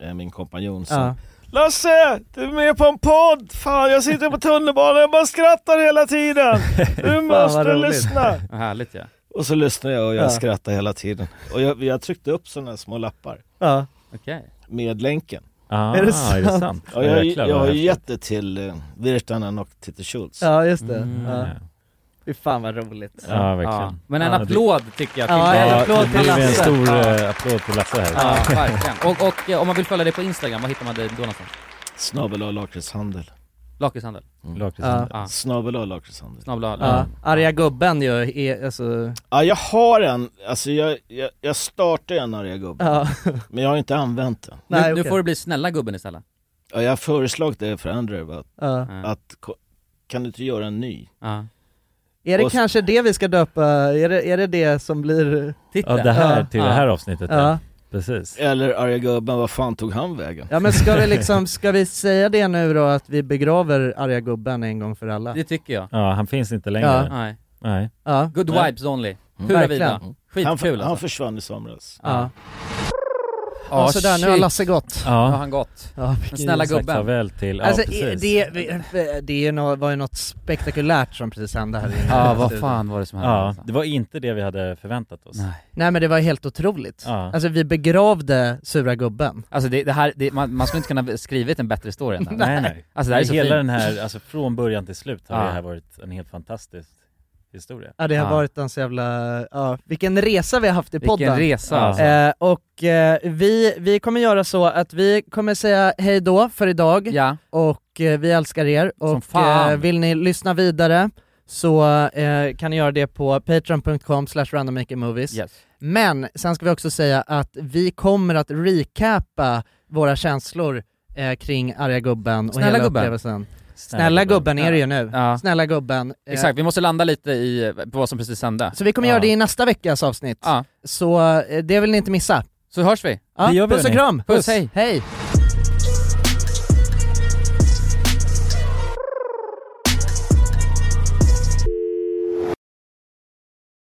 [SPEAKER 7] eh, min kompanjon som
[SPEAKER 11] Ja. Lasse! Du är med på en podd! Fan jag sitter på tunnelbanan och bara skrattar hela tiden! Du måste lyssna!
[SPEAKER 2] Ja, Härligt ja.
[SPEAKER 7] Och så lyssnade jag och jag
[SPEAKER 2] Ja.
[SPEAKER 7] skrattade hela tiden Och jag, jag tryckte upp sådana små lappar
[SPEAKER 1] Ja.
[SPEAKER 2] Okej.
[SPEAKER 7] Med länken
[SPEAKER 3] Ah, Är det sant? är det sant?
[SPEAKER 7] Ja, jag,
[SPEAKER 3] Jäklar,
[SPEAKER 7] jag
[SPEAKER 3] vad
[SPEAKER 7] har ju
[SPEAKER 3] häftigt.
[SPEAKER 7] gett det till eh, Virtanen och Titti Schultz
[SPEAKER 1] Ja just det.
[SPEAKER 7] Mm.
[SPEAKER 1] Ja. Fy fan vad roligt.
[SPEAKER 3] Ja, verkligen. Ja.
[SPEAKER 2] Men en
[SPEAKER 3] Ja, det-
[SPEAKER 2] applåd tycker jag till-
[SPEAKER 1] Ja, en applåd
[SPEAKER 3] det
[SPEAKER 1] till
[SPEAKER 3] blir en
[SPEAKER 1] Lasse.
[SPEAKER 3] stor
[SPEAKER 1] Ja.
[SPEAKER 3] eh, applåd till Lasse här.
[SPEAKER 2] Ja, verkligen. <laughs> Och, och eh, om man vill följa dig på Instagram, vad hittar man dig då någonstans?
[SPEAKER 7] Snabel A lakritshandel
[SPEAKER 2] Lakritshandel?
[SPEAKER 1] Lakritshandel.
[SPEAKER 2] Ja.
[SPEAKER 7] Snabel A lakritshandel
[SPEAKER 2] Snabel A.
[SPEAKER 1] Ja. Arga gubben ju, är, alltså...
[SPEAKER 7] Ja jag har en, alltså jag, jag, jag startade en arga gubbe
[SPEAKER 1] <laughs> Ja.
[SPEAKER 7] Men jag har inte använt den
[SPEAKER 2] Nu, nu får det bli snälla gubben istället.
[SPEAKER 7] ja, Jag har föreslagit det för Andrew att,
[SPEAKER 1] Ja.
[SPEAKER 7] att ko- kan du inte göra en ny?
[SPEAKER 1] Är det
[SPEAKER 7] Och s-
[SPEAKER 1] kanske det vi ska döpa, är det är det, det som blir...
[SPEAKER 3] Ja, det här till det här avsnittet.
[SPEAKER 1] Ja.
[SPEAKER 3] Ja. Precis.
[SPEAKER 7] Eller arga gubben, vad fan tog han vägen?
[SPEAKER 1] Ja men
[SPEAKER 3] <laughs>
[SPEAKER 1] ska vi liksom, ska vi säga det nu då att vi begraver arga gubben en gång för alla?
[SPEAKER 2] Det tycker jag.
[SPEAKER 3] Ja, han finns inte längre.
[SPEAKER 1] Ja.
[SPEAKER 2] Nej.
[SPEAKER 3] Nej.
[SPEAKER 1] Ja.
[SPEAKER 2] Good
[SPEAKER 1] Nej.
[SPEAKER 2] vibes only.
[SPEAKER 1] Mm.
[SPEAKER 2] Hurra
[SPEAKER 1] Verkligen.
[SPEAKER 2] vida. Skitkul
[SPEAKER 7] han, för-
[SPEAKER 2] alltså.
[SPEAKER 7] han försvann i somras
[SPEAKER 1] Ja. Ja,
[SPEAKER 3] Ah,
[SPEAKER 1] sådär, nu har Lasse gått.
[SPEAKER 2] Ja. han gått.
[SPEAKER 1] Ja,
[SPEAKER 2] Men snälla
[SPEAKER 3] sagt
[SPEAKER 2] gubben.
[SPEAKER 3] farväl till- ja,
[SPEAKER 1] alltså,
[SPEAKER 3] precis.
[SPEAKER 1] det, det, det är ju nå- var ju något spektakulärt som precis hände här inne.
[SPEAKER 2] Ja, vad fan var det som hände? alltså?
[SPEAKER 3] Ja, det var inte det vi hade förväntat oss. Nej.
[SPEAKER 1] Nej men det var helt otroligt.
[SPEAKER 3] Ja.
[SPEAKER 1] Alltså vi begravde sura gubben.
[SPEAKER 2] Alltså det, det här, det, man, man skulle inte kunna skrivit en bättre historia än
[SPEAKER 3] <laughs>
[SPEAKER 2] det här.
[SPEAKER 3] Nej, nej.
[SPEAKER 2] Alltså det här är så
[SPEAKER 3] Hela
[SPEAKER 2] fint.
[SPEAKER 3] den här, alltså från början till slut har
[SPEAKER 2] Ja.
[SPEAKER 3] det här varit en helt fantastisk historia.
[SPEAKER 1] Ja det har
[SPEAKER 3] Ja.
[SPEAKER 1] varit en så jävla, ja, vilken resa vi har haft i
[SPEAKER 3] Vilken
[SPEAKER 1] podden.
[SPEAKER 3] resa,
[SPEAKER 1] Ja.
[SPEAKER 3] alltså.
[SPEAKER 1] eh, Och eh, vi, vi kommer göra så att vi kommer säga hej då för idag, och eh, vi älskar er. Och
[SPEAKER 2] fan.
[SPEAKER 1] eh, vill ni lyssna vidare så eh, kan ni göra det på patreon.com slash randommakermovies.
[SPEAKER 2] Yes.
[SPEAKER 1] Men sen ska vi också säga att vi kommer att recapa våra känslor eh, kring arga gubben och
[SPEAKER 2] Snälla
[SPEAKER 1] hela
[SPEAKER 2] gubben.
[SPEAKER 1] upplevelsen.
[SPEAKER 2] Snälla
[SPEAKER 1] Snälla,
[SPEAKER 2] gubben.
[SPEAKER 1] gubben. är det ju nu.
[SPEAKER 2] Ja.
[SPEAKER 1] Snälla gubben. Eh,
[SPEAKER 2] Exakt, vi måste landa lite i på vad som precis hände.
[SPEAKER 1] Så vi kommer göra det i nästa veckas avsnitt. Så eh, det vill ni inte missa.
[SPEAKER 2] Så hörs vi.
[SPEAKER 1] Ja,
[SPEAKER 2] Det gör vi,
[SPEAKER 1] puss och
[SPEAKER 2] hörni.
[SPEAKER 1] kram!
[SPEAKER 2] Puss, hej.
[SPEAKER 1] hej.